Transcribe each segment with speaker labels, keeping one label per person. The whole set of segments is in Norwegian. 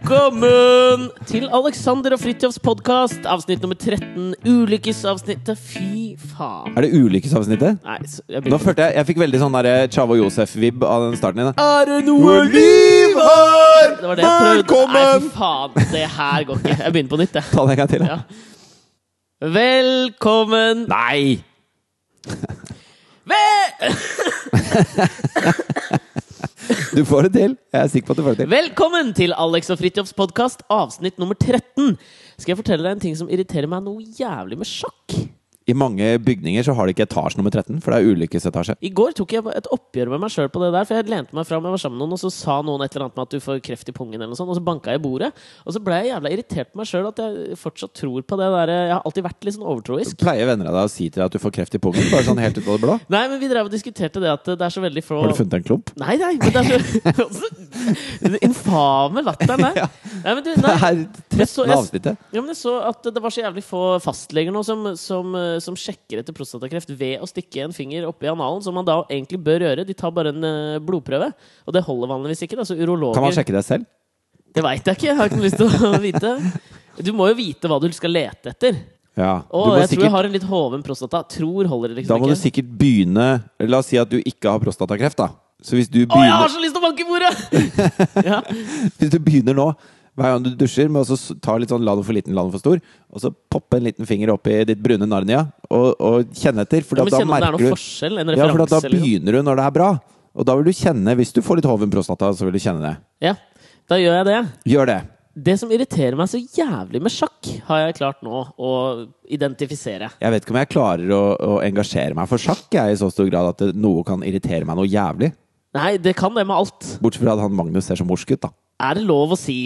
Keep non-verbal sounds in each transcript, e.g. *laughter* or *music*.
Speaker 1: Velkommen til Alexander og Fridtjofs podkast, avsnitt nummer 13, ulykkesavsnittet. Fy faen.
Speaker 2: Er det ulykkesavsnittet?
Speaker 1: Nei, så jeg
Speaker 2: Nå
Speaker 1: begynner.
Speaker 2: følte jeg Jeg fikk veldig sånn der Chavo Josef-vibb av den starten din. da.
Speaker 1: Er det noe
Speaker 2: liv her!
Speaker 1: Det var det jeg prøvde. Nei, fy faen. Det her går ikke. Jeg begynner på nytt, jeg.
Speaker 2: Ta det en gang til. da.
Speaker 1: Ja. Velkommen
Speaker 2: Nei!
Speaker 1: Vel
Speaker 2: Du får det til. Jeg er sikker på at du får det til.
Speaker 1: Velkommen til Alex og Fridtjofs podkast, avsnitt nummer 13. Skal jeg fortelle deg en ting som irriterer meg noe jævlig med sjakk?
Speaker 2: I mange bygninger så har de ikke etasje nummer 13, for det er ulykkesetasje.
Speaker 1: I går tok jeg et oppgjør med meg sjøl på det der, for jeg lente meg fram, jeg var sammen med noen, og så sa noen et eller annet med at du får kreft i pungen, eller noe sånt, og så banka jeg i bordet. Og så ble jeg jævla irritert på meg sjøl at jeg fortsatt tror på det der Jeg har alltid vært litt sånn overtroisk.
Speaker 2: Pleier venner av deg å si til deg at du får kreft i pungen? Bare sånn helt ut av det blå?
Speaker 1: Nei, men vi drev og diskuterte det at det er så veldig få
Speaker 2: Har du funnet en klump?
Speaker 1: Nei, nei, men det er så *laughs*
Speaker 2: *laughs*
Speaker 1: Den infame latteren der.
Speaker 2: Ja.
Speaker 1: Nei, men du,
Speaker 2: Det
Speaker 1: nei.
Speaker 2: er
Speaker 1: Jeg så-
Speaker 2: 13.
Speaker 1: jeg-
Speaker 2: avsnittet.
Speaker 1: Ja, men jeg så at det var så jævlig få fastleger nå som, som, eh, som sjekker etter prostatakreft ved å stikke en finger oppi analen, som man da egentlig bør gjøre. De tar bare en eh, blodprøve, og det holder vanligvis ikke. Da. Så urologer
Speaker 2: Kan man sjekke det selv?
Speaker 1: Det veit jeg ikke, jeg har ikke lyst til å *laughs* vite. Du må jo vite hva du skal lete etter.
Speaker 2: Ja. Du
Speaker 1: Å, jeg tror
Speaker 2: må
Speaker 1: jeg
Speaker 2: sikkert,
Speaker 1: har en litt hoven prostata. Tror holder det
Speaker 2: da
Speaker 1: liksom
Speaker 2: må du
Speaker 1: ikke.
Speaker 2: sikkert begynne La oss si at du ikke har prostatakreft, da. Så hvis du
Speaker 1: Å, jeg har
Speaker 2: begynner,
Speaker 1: så lyst til å banke i bordet! ja.
Speaker 2: hvis du begynner nå hver gang du dusjer, med å så s- ta litt sånn la den for liten, la den for stor, og så poppe en liten finger opp i ditt brune Narnia og, og kjenne etter, for
Speaker 1: Ja,
Speaker 2: da,
Speaker 1: men
Speaker 2: da
Speaker 1: kjenner du det er
Speaker 2: merker
Speaker 1: noe
Speaker 2: du
Speaker 1: forskjell? En
Speaker 2: Ja,
Speaker 1: referanse?
Speaker 2: for da, da
Speaker 1: eller noe?
Speaker 2: begynner du når det er bra. Og da vil du kjenne Hvis du får litt hoven prostata, så vil du kjenne det.
Speaker 1: ja, da gjør jeg det.
Speaker 2: Gjør det.
Speaker 1: Det som irriterer meg så jævlig med sjakk, har jeg klart nå å identifisere.
Speaker 2: Jeg vet ikke om jeg klarer å, å engasjere meg for sjakk jeg, i så stor grad at det, noe kan irritere meg noe jævlig.
Speaker 1: Nei, det kan det med alt.
Speaker 2: Bortsett fra at han Magnus ser så morsk ut, da.
Speaker 1: Er det lov å si?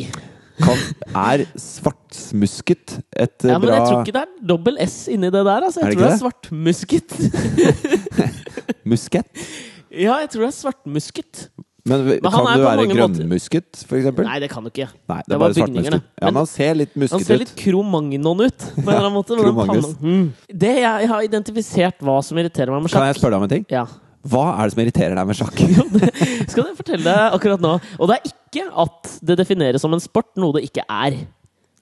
Speaker 2: Kan, er svartsmusket et eh,
Speaker 1: Ja, men
Speaker 2: bra
Speaker 1: Jeg tror ikke det er dobbel S inni det der. Altså.
Speaker 2: Er
Speaker 1: Jeg
Speaker 2: det
Speaker 1: tror det er
Speaker 2: ikke
Speaker 1: svartmusket.
Speaker 2: muskett?
Speaker 1: *laughs* ja, jeg tror det er svartmusket.
Speaker 2: Men, v-
Speaker 1: Men han
Speaker 2: kan
Speaker 1: er
Speaker 2: du
Speaker 1: på
Speaker 2: være
Speaker 1: mange måter-
Speaker 2: grønnmusket, for eksempel?
Speaker 1: Nei, det kan du ikke.
Speaker 2: Nei, det
Speaker 1: det
Speaker 2: er
Speaker 1: var
Speaker 2: bare svartmusket.
Speaker 1: bygningene.
Speaker 2: Ja, men han ser litt
Speaker 1: Han
Speaker 2: musket
Speaker 1: ser litt
Speaker 2: ut.
Speaker 1: Cro-Magnon ut. På en eller annen måte. med den
Speaker 2: Cro-Magnus.
Speaker 1: panna. Mm. Det jeg, jeg har identifisert hva som irriterer meg med
Speaker 2: Kan
Speaker 1: sjakk.
Speaker 2: jeg spørre deg om en ting?
Speaker 1: Ja.
Speaker 2: Hva er det som irriterer deg med
Speaker 1: *laughs*
Speaker 2: sjakk?
Speaker 1: Skal jeg fortelle deg akkurat nå? Og det er ikke at det defineres som en sport, noe det ikke er.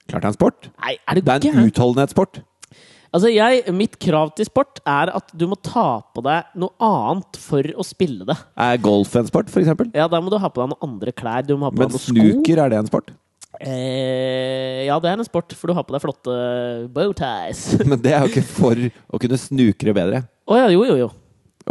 Speaker 2: Klart det er en sport.
Speaker 1: Nei, er du
Speaker 2: Det er
Speaker 1: gæren?
Speaker 2: en utholdenhetssport.
Speaker 1: Altså jeg, Mitt krav til sport er at du må ta på deg noe annet for å spille det.
Speaker 2: Er golf en sport, for eksempel?
Speaker 1: Ja, Da må du ha på deg noen andre klær. Du må ha på deg
Speaker 2: Men
Speaker 1: noen sko.
Speaker 2: snooker, er det en sport? *laughs*
Speaker 1: Eh, ja, det er en sport, for du har på deg flotte bowties. *laughs* Å
Speaker 2: Men det er jo ikke for å kunne snukre bedre.
Speaker 1: ja, jo, jo, jo.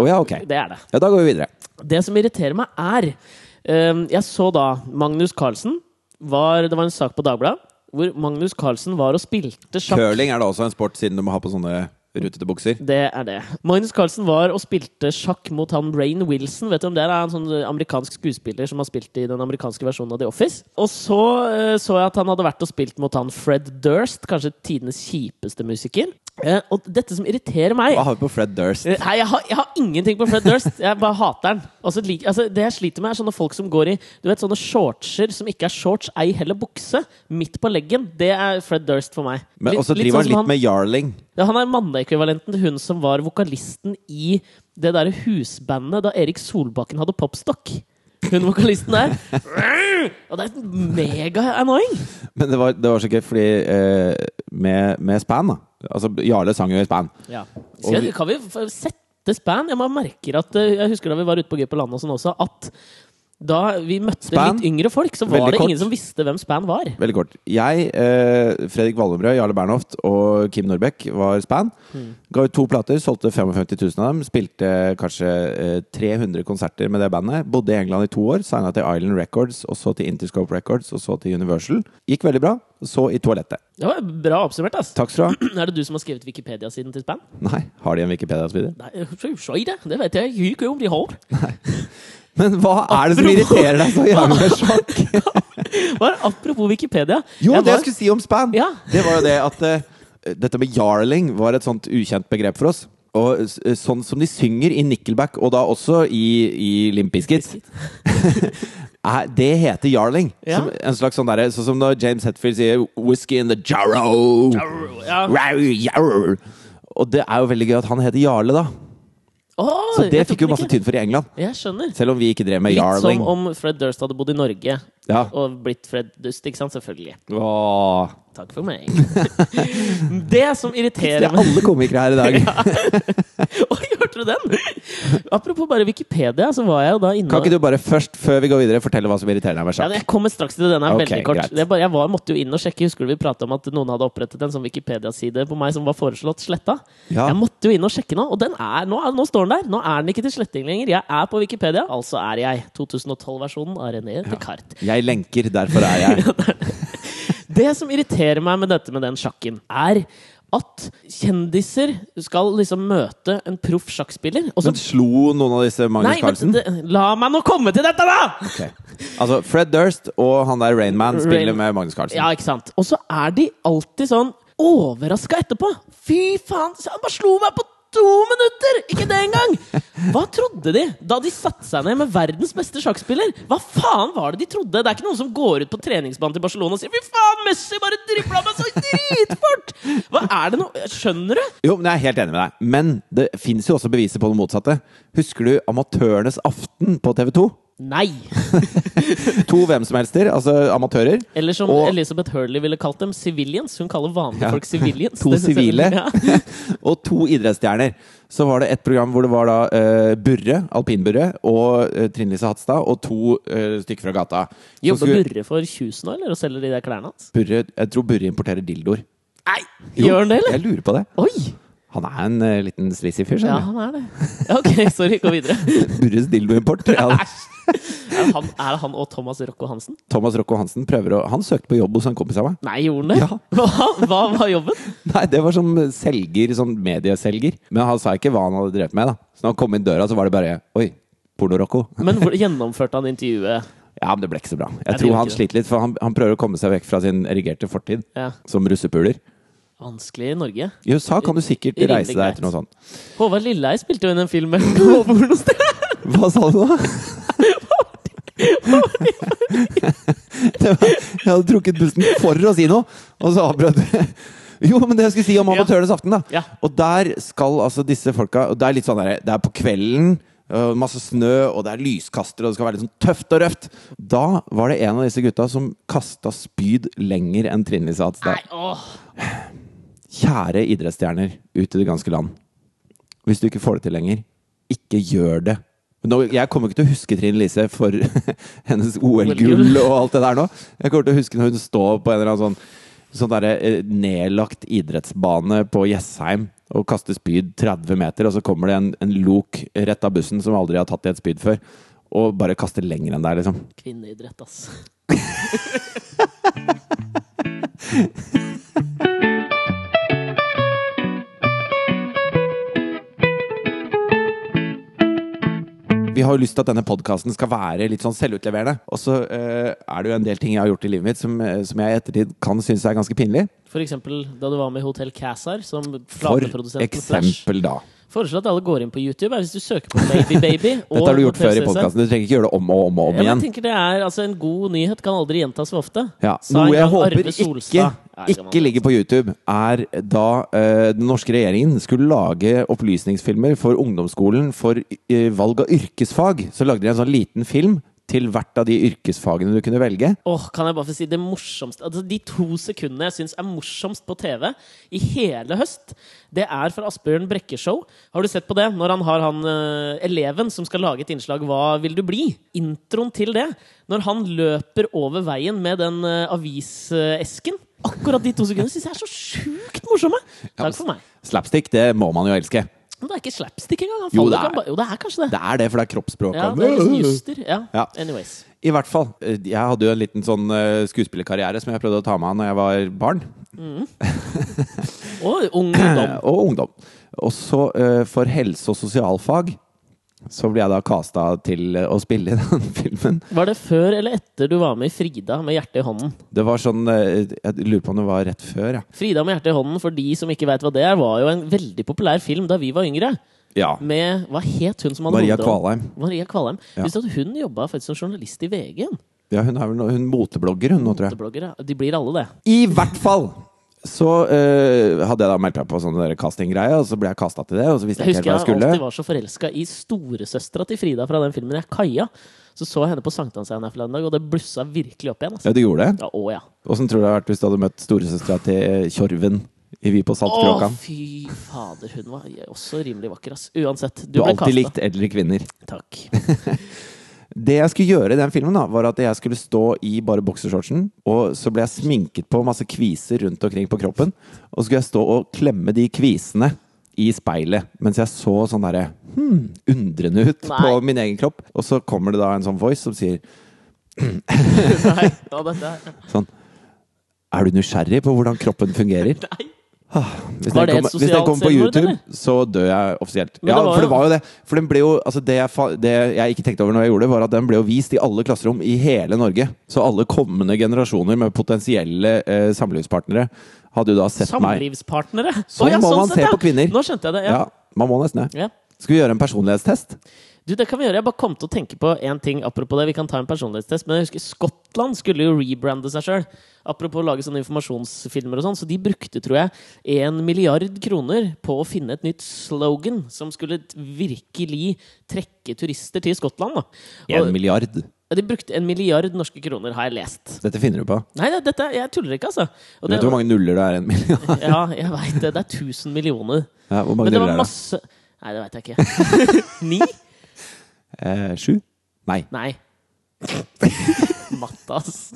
Speaker 2: Å ja, ok.
Speaker 1: Det er det.
Speaker 2: Ja, da går vi videre.
Speaker 1: Det som irriterer meg, er eh, Jeg så da Magnus Carlsen var, Det var en sak på Dagbladet hvor Magnus Carlsen var og spilte sjakk.
Speaker 2: Curling er da også en sport, siden du må ha på sånne rutete bukser.
Speaker 1: Det er det. Magnus Carlsen var og spilte sjakk mot han Rain Wilson. Vet du om det er? er en sånn amerikansk skuespiller som har spilt i den amerikanske versjonen av The Office. Og så eh, så jeg at han hadde vært og spilt mot han Fred Durst, kanskje tidenes kjipeste musiker. Eh, og dette som irriterer meg
Speaker 2: Hva har vi på Fred Durst?
Speaker 1: Eh, Nei, jeg har, jeg har ingenting på Fred Durst. Jeg bare hater den. Og så lik- altså, det jeg sliter med, er sånne folk som går i Du vet, sånne shortser som ikke er shorts, ei heller bukse, midt på leggen. Det er Fred Durst for meg.
Speaker 2: Men
Speaker 1: Litt-
Speaker 2: også
Speaker 1: litt
Speaker 2: driver
Speaker 1: sånn
Speaker 2: han
Speaker 1: som
Speaker 2: litt med yarling.
Speaker 1: ja, han er manneekvivalenten til hun som var vokalisten i det derre husbandet da Erik Solbakken hadde popstock. Hun vokalisten
Speaker 2: *laughs*
Speaker 1: der. Og det er mega-annoying!
Speaker 2: Men det var, det var så gøy, fordi eh, med, med Span, da. Altså, Jarle sang jo i Span.
Speaker 1: Ja. Skal, jeg- kan vi f- sette span? Jeg bare merker at eh, Jeg husker da vi var ute på Gøy på landet og sånn også, at da vi møtte
Speaker 2: Span?
Speaker 1: litt yngre folk, så var
Speaker 2: Veldig
Speaker 1: det
Speaker 2: kort.
Speaker 1: ingen som visste hvem span var.
Speaker 2: Veldig kort. Jeg, eh, Fredrik Wallumrød, Jarle Bernhoft og Kim Norbekk var span. Ga ut to plater, solgte 55 000 av dem. Spilte kanskje eh, 300 konserter med det bandet. Bodde i England i to år. Signa til Island Records, og så til Interscope Records, og så til Universal. Gikk veldig bra. Så i toalettet.
Speaker 1: Det var bra oppsummert, ass.
Speaker 2: Takk skal du ha.
Speaker 1: Er det du som har skrevet Wikipedia-siden til span?
Speaker 2: Nei, har de en Wikipedia-side?
Speaker 1: Nei, skjøy det! Det vet jeg ikke om de har. *laughs*
Speaker 2: Men hva er det som irriterer deg så jævlig med sjakk?
Speaker 1: Bare apropos Wikipedia.
Speaker 2: Jo,
Speaker 1: Jeg
Speaker 2: det
Speaker 1: var-
Speaker 2: jeg skulle si om span,
Speaker 1: Ja.
Speaker 2: det var jo det at eh, dette med yarling var et sånt ukjent begrep for oss. Og s- sånn som de synger i Nickelback, og da også i, i Limp Bizkit *laughs* er- Det heter yarling.
Speaker 1: Ja.
Speaker 2: Som en slags sånn derre Sånn som når James Hetfield sier 'whisky in the jarrow'.
Speaker 1: Ja.
Speaker 2: Rau, jarrow. Og det er jo veldig gøy at han heter Jarle, da.
Speaker 1: Åh,
Speaker 2: Så det
Speaker 1: jeg tok
Speaker 2: fikk jo
Speaker 1: den
Speaker 2: masse
Speaker 1: ikke.
Speaker 2: tyn for i England.
Speaker 1: Jeg skjønner.
Speaker 2: Selv om vi ikke drev med
Speaker 1: Litt
Speaker 2: yarling.
Speaker 1: som om Fred Durst hadde bodd i Norge
Speaker 2: Ja.
Speaker 1: og blitt Fred Dust, ikke sant? Selvfølgelig.
Speaker 2: Åh.
Speaker 1: Takk for meg. *laughs* det som
Speaker 2: Det
Speaker 1: irriterer
Speaker 2: er
Speaker 1: meg *laughs*
Speaker 2: alle komikere her i dag.
Speaker 1: Oi, hørte du den? Apropos bare Wikipedia, så var jeg jo da inne
Speaker 2: Kan ikke du bare først, før vi går videre, fortelle hva som irriterer deg med
Speaker 1: ja,
Speaker 2: sjakk?
Speaker 1: men jeg kommer straks til det. Den er
Speaker 2: Ok,
Speaker 1: veldig kort.
Speaker 2: greit.
Speaker 1: Det er bare, jeg var, måtte jo inn og sjekke. Husker du vi prata om at noen hadde opprettet en sånn Wikipedia-side på meg som var foreslått sletta?
Speaker 2: Ja.
Speaker 1: Jeg måtte jo inn og sjekke nå, og den er, nå, er- nå står den der! Nå er den ikke til sletting lenger. Jeg er på Wikipedia, altså er jeg. 2012-versjonen av René Descartes.
Speaker 2: Jeg lenker, derfor er
Speaker 1: *laughs*
Speaker 2: jeg
Speaker 1: Det som irriterer meg med dette med den sjakken, er at kjendiser skal liksom møte en proff sjakkspiller, og så
Speaker 2: Men slo noen av disse Magnus
Speaker 1: Nei, men
Speaker 2: Carlsen?
Speaker 1: det, la meg nå komme til dette, da!
Speaker 2: Ok. Altså, Fred Durst og han der Rainman spiller
Speaker 1: Rain-
Speaker 2: med Magnus Carlsen.
Speaker 1: Ja, ikke sant? Og så er de alltid sånn overraska etterpå. Fy faen, så han bare slo meg på to minutter! Ikke det engang! Hva trodde de da de satte seg ned med verdens beste sjakkspiller? Hva faen var det de trodde? Det er ikke noen som går ut på treningsbanen til Barcelona og sier 'fy faen, Messi bare dribla meg så dritfort'! Hva er det nå? Skjønner du?
Speaker 2: Jo, men Jeg er helt enig med deg, men det fins jo også beviser på det motsatte. Husker du Amatørenes aften på TV2?
Speaker 1: Nei!
Speaker 2: To hvem som helster, altså amatører.
Speaker 1: Eller som
Speaker 2: Og-
Speaker 1: Elizabeth Hurley ville kalt dem, civilians. Hun kaller vanlige
Speaker 2: Ja.
Speaker 1: folk civilians.
Speaker 2: *laughs* To
Speaker 1: Det synes jeg-
Speaker 2: sivile.
Speaker 1: Ja.
Speaker 2: *laughs* og to idrettsstjerner. Så var det et program hvor det var da eh, Burre, alpinburre, og eh, Trine Lise Hatstad, og to eh, stykker fra gata. Som
Speaker 1: Jobber
Speaker 2: skulle-
Speaker 1: Burre for Kjusen nå, eller? Og selger de der klærne hans?
Speaker 2: Burre, jeg tror Burre importerer dildoer.
Speaker 1: Nei! Gjør han det, eller?
Speaker 2: Jeg lurer på det.
Speaker 1: Oi!
Speaker 2: Han er en eh, liten sleazy fyr,
Speaker 1: Ja,
Speaker 2: skjønner
Speaker 1: han er det. Ja, *laughs* Ok, sorry. Gå videre.
Speaker 2: *laughs* du. Burres
Speaker 1: *laughs*
Speaker 2: dildoimport. Ja,
Speaker 1: Er det han, er det han og Thomas Rocco Hansen?
Speaker 2: Thomas Rocco Hansen prøver å Han søkte på jobb hos en kompis av meg. *laughs*
Speaker 1: Nei, gjorde han det?
Speaker 2: Ja.
Speaker 1: *laughs* Hva, hva var jobben?
Speaker 2: Nei, det var som selger, sånn medieselger. Men han sa ikke hva han hadde drevet med, da. Så når han kom inn døra, så var det bare Oi, porno-Rocco.
Speaker 1: Men hvor, gjennomførte han intervjuet?
Speaker 2: Ja, men det ble ikke så bra. Jeg
Speaker 1: det
Speaker 2: tror
Speaker 1: gjorde
Speaker 2: han
Speaker 1: ikke
Speaker 2: sliter litt, for han, han prøver å komme seg vekk fra sin erigerte fortid
Speaker 1: Ja.
Speaker 2: som russepuler.
Speaker 1: Vanskelig i Norge.
Speaker 2: I USA kan du sikkert
Speaker 1: Rimelig
Speaker 2: reise deg
Speaker 1: greit.
Speaker 2: etter noe sånt.
Speaker 1: Håvard Lilleheie spilte jo inn en film med *laughs* pornostil.
Speaker 2: Hva sa du nå? Det var- Jeg hadde trukket pusten for å si noe, og så avbrøt du. Jo, men det jeg skulle si om
Speaker 1: Ja.
Speaker 2: Amatørenes aften, da.
Speaker 1: Ja.
Speaker 2: Og der skal altså disse folka og Det er litt sånn der, det er på kvelden, øh, masse snø, og det er lyskastere, og det skal være litt sånn tøft og røft. Da var det en av disse gutta som kasta spyd lenger enn Trine Lise Hatstad.
Speaker 1: Nei, åh.
Speaker 2: Kjære idrettsstjerner ut i det ganske land. Hvis du ikke får det til lenger, ikke gjør det. Nå, jeg kommer ikke til å huske Trine Lise for *laughs* hennes OL-gull og alt det der nå. Jeg kommer til å huske når hun står på en eller annen sånn, sånn derre, eh, nedlagt idrettsbane på Jessheim og kaster spyd 30 meter, og så kommer det en, en lok rett av bussen som aldri har tatt i et spyd før, og bare kaster lenger enn deg, liksom.
Speaker 1: Kvinneidrett, ass.
Speaker 2: Vi har jo lyst til at denne podkasten skal være litt sånn selvutleverende. Og så eh, er det jo en del ting jeg har gjort i livet mitt som, eh, som jeg i ettertid kan synes er ganske pinlig.
Speaker 1: For eksempel da du var med i Hotell Cæsar, som
Speaker 2: For
Speaker 1: plateprodusenten Flash.
Speaker 2: eksempel, da.
Speaker 1: Foreslår at alle går inn på YouTube. Hvis du søker på Baby Baby og
Speaker 2: *laughs* Dette har du gjort
Speaker 1: Hotell
Speaker 2: før i
Speaker 1: Cæsar.
Speaker 2: podkasten. Du trenger ikke gjøre det om og om og om
Speaker 1: Ja, men jeg
Speaker 2: igjen.
Speaker 1: tenker det er, altså En god nyhet kan aldri gjentas for ofte.
Speaker 2: Ja.
Speaker 1: Sa en
Speaker 2: Noe jeg
Speaker 1: gang
Speaker 2: håper
Speaker 1: Arve
Speaker 2: ikke,
Speaker 1: Solstad. Nei, det kan man
Speaker 2: ikke ligger på YouTube, er da eh, den norske regjeringen skulle lage opplysningsfilmer for ungdomsskolen for eh, valg av yrkesfag. Så lagde de en sånn liten film til hvert av de yrkesfagene du kunne velge.
Speaker 1: Åh, kan jeg bare få si det morsomste altså, De to sekundene jeg syns er morsomst på TV i hele høst, det er fra Asbjørn Brekke-show. Har du sett på det? Når han har han eh, eleven som skal lage et innslag 'Hva vil du bli?' Introen til det. Når han løper over veien med den eh, avisesken. Akkurat de to sekundene syns jeg er så sjukt morsomme! Takk for meg.
Speaker 2: Slapstick, det må man jo elske.
Speaker 1: Men det er ikke slapstick engang. Han
Speaker 2: Jo,
Speaker 1: faller
Speaker 2: det er-
Speaker 1: ikke, han bare- jo, det er kanskje det.
Speaker 2: Det er det, for det er kroppsspråket.
Speaker 1: Ja, det er liksom juster. Ja.
Speaker 2: Ja.
Speaker 1: Anyways.
Speaker 2: I hvert fall. eh, Jeg hadde jo en liten sånn eh, skuespillerkarriere som jeg prøvde å ta meg av når jeg var barn.
Speaker 1: Og ungdom.
Speaker 2: eh, Og ungdom. Og så eh, for helse- og sosialfag så ble jeg da casta til eh, å spille i *laughs* den filmen.
Speaker 1: Var det før eller etter du var med i Frida med hjertet i hånden?
Speaker 2: Det var sånn eh, Jeg lurer på om det var rett før, ja.
Speaker 1: Frida med hjertet i hånden, for de som ikke veit hva det er, var jo en veldig populær film da vi var yngre.
Speaker 2: ja.
Speaker 1: Med Hva het hun som hadde
Speaker 2: Maria
Speaker 1: hovedrollen?
Speaker 2: Kvalheim.
Speaker 1: Maria Kvalheim.
Speaker 2: Ja.
Speaker 1: Visste du at hun jobba faktisk som journalist i VG?
Speaker 2: Ja, hun er vel no- hun moteblogger, hun nå, tror jeg.
Speaker 1: Moteblogger, ja. De blir alle det.
Speaker 2: I hvert fall! Så eh, hadde jeg da meldt meg på sånn der castinggreie, og så ble jeg kasta til det. Og så visste jeg
Speaker 1: Jeg
Speaker 2: ikke
Speaker 1: husker
Speaker 2: helt hva jeg
Speaker 1: jeg
Speaker 2: skulle.
Speaker 1: alltid var så forelska i storesøstera til Frida fra den filmen. Jeg Kaja. Så så jeg henne på sankthansheien her forleden dag, og det blussa virkelig opp igjen. Altså.
Speaker 2: Ja, du gjorde det.
Speaker 1: Ja, å ja.
Speaker 2: Åssen tror du det hadde vært hvis du hadde møtt storesøstera til eh, Tjorven i Vi på
Speaker 1: Å,
Speaker 2: Saltkråkan?
Speaker 1: fy fader. Hun var også rimelig vakker, ass. Uansett. Du,
Speaker 2: Du har
Speaker 1: ble
Speaker 2: alltid
Speaker 1: kasta.
Speaker 2: likt eldre kvinner.
Speaker 1: Takk. *laughs*
Speaker 2: Det jeg skulle gjøre i den filmen, da, var at jeg skulle stå i bare boksershortsen, og så ble jeg sminket på masse kviser rundt omkring på kroppen, og så skulle jeg stå og klemme de kvisene i speilet, mens jeg så sånn derre hmm, undrende ut
Speaker 1: Nei.
Speaker 2: på min egen kropp. Og så kommer det da en sånn voice som sier
Speaker 1: Nei, ja, dette er
Speaker 2: sånn Er du nysgjerrig på hvordan kroppen fungerer?
Speaker 1: Nei.
Speaker 2: Hvis
Speaker 1: Var
Speaker 2: den
Speaker 1: det et
Speaker 2: kommer- Hvis den
Speaker 1: sosialt
Speaker 2: kommer på
Speaker 1: selvmord,
Speaker 2: YouTube,
Speaker 1: eller?
Speaker 2: så dør jeg offisielt.
Speaker 1: Men
Speaker 2: ja,
Speaker 1: det var jo-
Speaker 2: for det var jo det. For den ble jo, altså det, jeg, fa- det jeg ikke tenkte over når jeg gjorde det, var at den ble jo vist i alle klasserom i hele Norge. Så alle kommende generasjoner med potensielle eh, samlivspartnere hadde jo da sett meg.
Speaker 1: Samlivspartnere.
Speaker 2: Sånn
Speaker 1: Å, ja,
Speaker 2: må man
Speaker 1: sett,
Speaker 2: se
Speaker 1: ja.
Speaker 2: på kvinner.
Speaker 1: Nå skjønte jeg det. Ja.
Speaker 2: Ja, man må nesten det.
Speaker 1: Ja.
Speaker 2: Skal vi gjøre en personlighetstest?
Speaker 1: Du, det kan vi gjøre. Jeg bare kom til å tenke på en ting apropos det. Vi kan ta en personlighetstest. Men jeg husker Skottland skulle jo rebrande seg sjøl. Apropos å lage sånne informasjonsfilmer og sånn. Så de brukte, tror jeg, en milliard kroner på å finne et nytt slogan som skulle virkelig trekke turister til Skottland. Da.
Speaker 2: En
Speaker 1: Og
Speaker 2: milliard.
Speaker 1: de brukte en milliard norske kroner, har jeg lest.
Speaker 2: Dette finner du på.
Speaker 1: Nei, det- dette, jeg tuller ikke, altså. Og
Speaker 2: Du vet hvor mange nuller det er i en milliard? *laughs*
Speaker 1: Ja, jeg veit det. Det er 1000 millioner.
Speaker 2: Ja, hvor mange
Speaker 1: Men det var
Speaker 2: nuller er det?
Speaker 1: masse Nei, det veit jeg ikke.
Speaker 2: *laughs*
Speaker 1: Ni?
Speaker 2: Eh, sju? Nei.
Speaker 1: Nei.
Speaker 2: *laughs*
Speaker 1: Matte, ass.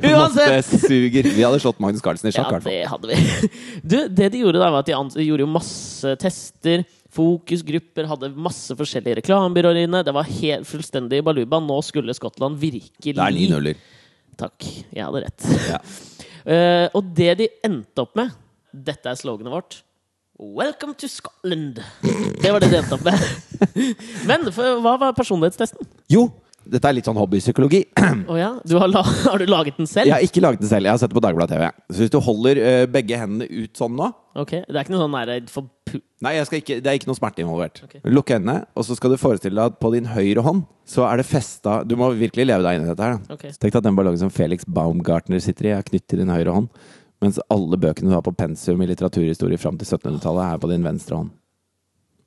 Speaker 1: Uansett!
Speaker 2: Matte suger. Vi hadde slått Magnus Carlsen i
Speaker 1: Ja,
Speaker 2: sjakk, i hvert fall.
Speaker 1: det hadde vi. *laughs* Du, det de gjorde, da, var at de an- gjorde jo masse tester. Fokusgrupper hadde masse forskjellige reklamebyråer inne. Det var helt fullstendig baluba. Nå skulle Skottland virkelig
Speaker 2: Det er ni nuller.
Speaker 1: Takk. Jeg hadde rett.
Speaker 2: Ja.
Speaker 1: *laughs* Eh, og det de endte opp med Dette er sloganet vårt. Welcome to Scotland! Det var det de endte opp med. *laughs* Men for, hva var personlighetstesten?
Speaker 2: Jo, dette er litt sånn hobbypsykologi.
Speaker 1: Å ja, du har, la, *laughs* har du laget den selv?
Speaker 2: Jeg har ikke laget den selv. Jeg har sett det på Dagbladet TV. Så hvis du holder eh, begge hendene ut sånn nå
Speaker 1: Ok, Det er ikke noe sånn nære for pu...
Speaker 2: Nei, jeg skal ikke, det er ikke noe smerte involvert.
Speaker 1: Ok.
Speaker 2: Lukk øynene, og så skal du forestille deg at på din høyre hånd så er det festa Du må virkelig leve deg inn i dette her. da.
Speaker 1: Ok.
Speaker 2: Så Tenk deg at den ballongen som Felix Baumgartner sitter i, er knyttet til din høyre hånd. Mens alle bøkene du har på pensum i litteraturhistorie fram til 1700-tallet, er på din venstre hånd.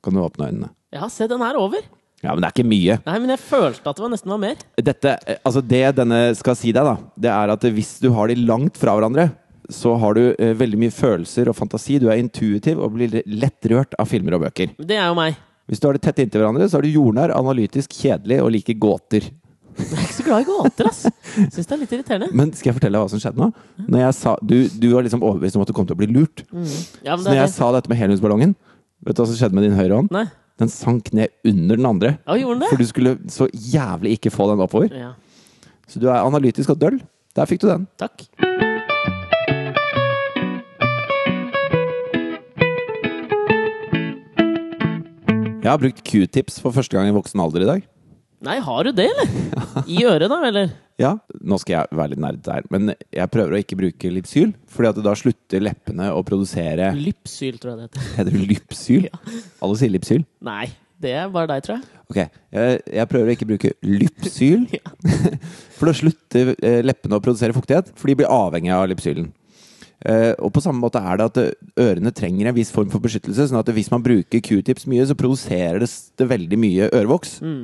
Speaker 2: Kan du åpne øynene?
Speaker 1: Ja, se, den er over!
Speaker 2: Ja, men det er ikke mye.
Speaker 1: Nei, men jeg følte at det var nesten var mer.
Speaker 2: dette, altså det denne skal si deg, da, det er at hvis du har de langt fra hverandre, så har du eh, veldig mye følelser og fantasi. Du er intuitiv og blir lett rørt av filmer og bøker.
Speaker 1: Men Det er jo meg. *laughs*
Speaker 2: Hvis du har det tett inntil hverandre, så er du jordnær, analytisk, kjedelig og liker gåter.
Speaker 1: Jeg er ikke så glad i gåter, ass. Syns det er litt irriterende.
Speaker 2: Men skal jeg fortelle deg hva som skjedde nå? Når jeg sa, du, du var liksom overbevist om at du kom til å bli lurt.
Speaker 1: Mm. Ja, men
Speaker 2: Så
Speaker 1: det
Speaker 2: når
Speaker 1: er
Speaker 2: jeg sa dette med heliumsballongen, vet du hva som skjedde med din høyre hånd?
Speaker 1: Nei.
Speaker 2: Den sank ned under den andre.
Speaker 1: Ja, gjorde den
Speaker 2: For
Speaker 1: det?
Speaker 2: du skulle så jævlig ikke få den oppover.
Speaker 1: Ja.
Speaker 2: Så du er analytisk og døll. Der fikk du den.
Speaker 1: Takk.
Speaker 2: Jeg har brukt q-tips for første gang i voksen alder i dag.
Speaker 1: Nei, har du det,
Speaker 2: *laughs*
Speaker 1: eller? I øret, da, eller?
Speaker 2: Ja, Nå skal jeg være litt nerd her, men jeg prøver å ikke bruke Lipsyl. Fordi at da slutter leppene å produsere
Speaker 1: Lypsyl, tror jeg det heter.
Speaker 2: Heter det Lypsyl? Alle sier Lipsyl.
Speaker 1: Nei, det er bare deg, tror jeg.
Speaker 2: Ok, jeg, jeg prøver å ikke bruke Lypsyl. *laughs* For da slutter eh, leppene å produsere fuktighet, for de blir avhengig av Lipsylen. Eh, og på samme måte er det at eh, ørene trenger en viss form for beskyttelse. sånn at hvis man bruker q-tips mye, så produserer det, s- det veldig mye ørevoks.
Speaker 1: Mm.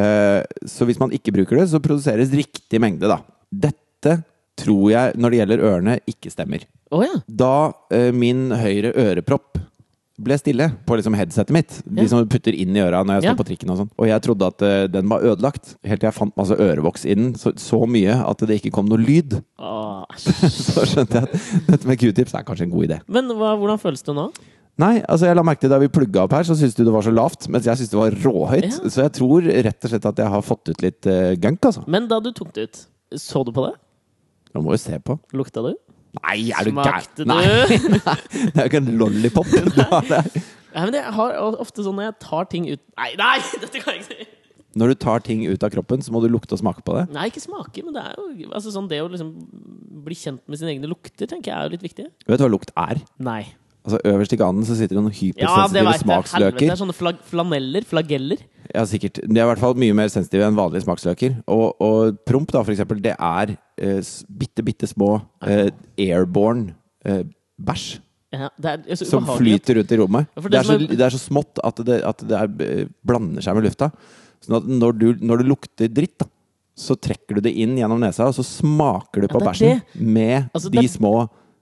Speaker 2: Eh, så hvis man ikke bruker det, så produseres riktig mengde, da. Dette tror jeg, når det gjelder ørene, ikke stemmer.
Speaker 1: Å ja.
Speaker 2: Da eh, min høyre ørepropp ble stille på liksom headsetet mitt,
Speaker 1: Ja.
Speaker 2: de som du putter inn i øra når jeg står
Speaker 1: Ja.
Speaker 2: på trikken og sånn, og jeg trodde at eh, den var ødelagt, helt til jeg fant masse ørevoks i den, så, så mye at det ikke kom noe lyd. *laughs*
Speaker 1: Å, Ah, æsj.
Speaker 2: Så skjønte jeg at dette med q-tips er kanskje en god idé.
Speaker 1: Men hva, hvordan føles det nå?
Speaker 2: Nei, altså jeg la merke til da vi plugga opp her, så syntes du det var så lavt, mens jeg syntes det var råhøyt.
Speaker 1: Ja.
Speaker 2: Så jeg tror rett og slett at jeg har fått ut litt eh, gunk, altså.
Speaker 1: Men da du tok det ut, så du på det?
Speaker 2: Man må jo se på.
Speaker 1: Lukta du?
Speaker 2: Nei, er du
Speaker 1: Smakte
Speaker 2: gæren?
Speaker 1: du?
Speaker 2: Nei,
Speaker 1: *laughs*
Speaker 2: det er jo ikke en lollipop. du har der.
Speaker 1: Nei, men jeg har ofte sånn når jeg tar ting ut Nei, nei! *laughs* Dette kan jeg ikke si!
Speaker 2: Når du tar ting ut av kroppen, så må du lukte og smake på det.
Speaker 1: Nei, ikke smake, men det er jo altså sånn Det å liksom bli kjent med sine egne lukter, tenker jeg er jo litt viktig.
Speaker 2: Vet du hva lukt er?
Speaker 1: Nei.
Speaker 2: Altså Øverst i ganen så sitter det noen
Speaker 1: Ja, det vet jeg.
Speaker 2: hypersensitive
Speaker 1: Helvete, det
Speaker 2: smaksløker.
Speaker 1: er sånne flag flaneller. Flageller.
Speaker 2: Ja, sikkert. De er i hvert fall mye mer sensitive enn vanlige smaksløker. Og, og promp, da, for eksempel, det er eh, s- bitte, bitte små eh, airborne eh, bæsj
Speaker 1: Ja, det er så
Speaker 2: som
Speaker 1: ubehagelig.
Speaker 2: flyter rundt i rommet.
Speaker 1: Ja, for
Speaker 2: Det
Speaker 1: det
Speaker 2: er, så,
Speaker 1: som er-
Speaker 2: det er så smått at det, at det er, eh, blander seg med lufta. Sånn at når du, når du lukter dritt, da, så trekker du det inn gjennom nesa, og så smaker du på
Speaker 1: det er
Speaker 2: bæsjen med
Speaker 1: Altså,
Speaker 2: de
Speaker 1: det er-
Speaker 2: små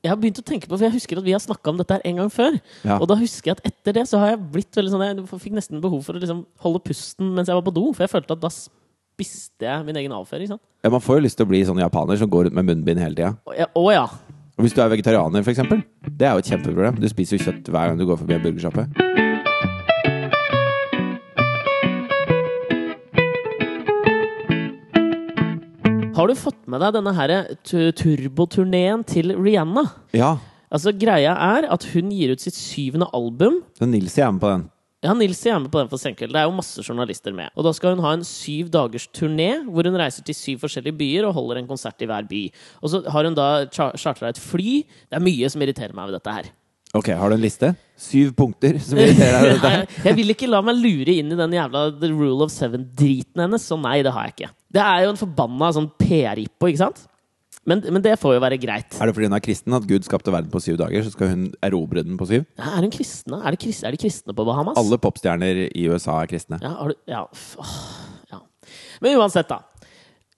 Speaker 1: Jeg har begynt å tenke på, for jeg husker at vi har snakka om dette her en gang før.
Speaker 2: Ja.
Speaker 1: Og da husker jeg at etter det så har jeg blitt veldig sånn Jeg fikk nesten behov for å liksom holde pusten mens jeg var på do, for jeg følte at da spiste jeg min egen avføring. Sant?
Speaker 2: ja, Man får jo lyst til å bli sånn japaner som går rundt med munnbind hele tida.
Speaker 1: Å ja, å ja.
Speaker 2: Og Hvis du er vegetarianer, for eksempel det er jo et kjempeproblem. Du spiser jo kjøtt hver gang du går forbi en burgersjappe.
Speaker 1: Har du fått med deg denne her tu- turboturneen til Rihanna?
Speaker 2: Ja,
Speaker 1: Altså Greia er at hun gir ut sitt syvende album.
Speaker 2: så Nilsi er med på den.
Speaker 1: Ja, Nilsi er med på den for Senkveld. Det er jo masse journalister med. Og da skal hun ha en syv dagers turné, hvor hun reiser til syv forskjellige byer og holder en konsert i hver by. Og så har hun da cha- chartra et fly. Det er mye som irriterer meg ved dette her.
Speaker 2: Ok, Har du en liste? Syv punkter som
Speaker 1: *laughs*
Speaker 2: irriterer deg? over dette her?
Speaker 1: Nei, jeg vil ikke la meg lure inn i den jævla The Rule of Seven-driten hennes, så nei, det har jeg ikke. Det er jo en forbanna sånn PR-ippo, ikke sant? Men, men det får jo være greit.
Speaker 2: Er det fordi hun er kristen at Gud skapte verden på syv dager, så skal hun erobre den på syv?
Speaker 1: Er, hun kristne? Er, det krist, er de kristne på Bahamas?
Speaker 2: Alle popstjerner i USA er kristne.
Speaker 1: Ja, har du, ja, f- åh, ja. Men uansett, da.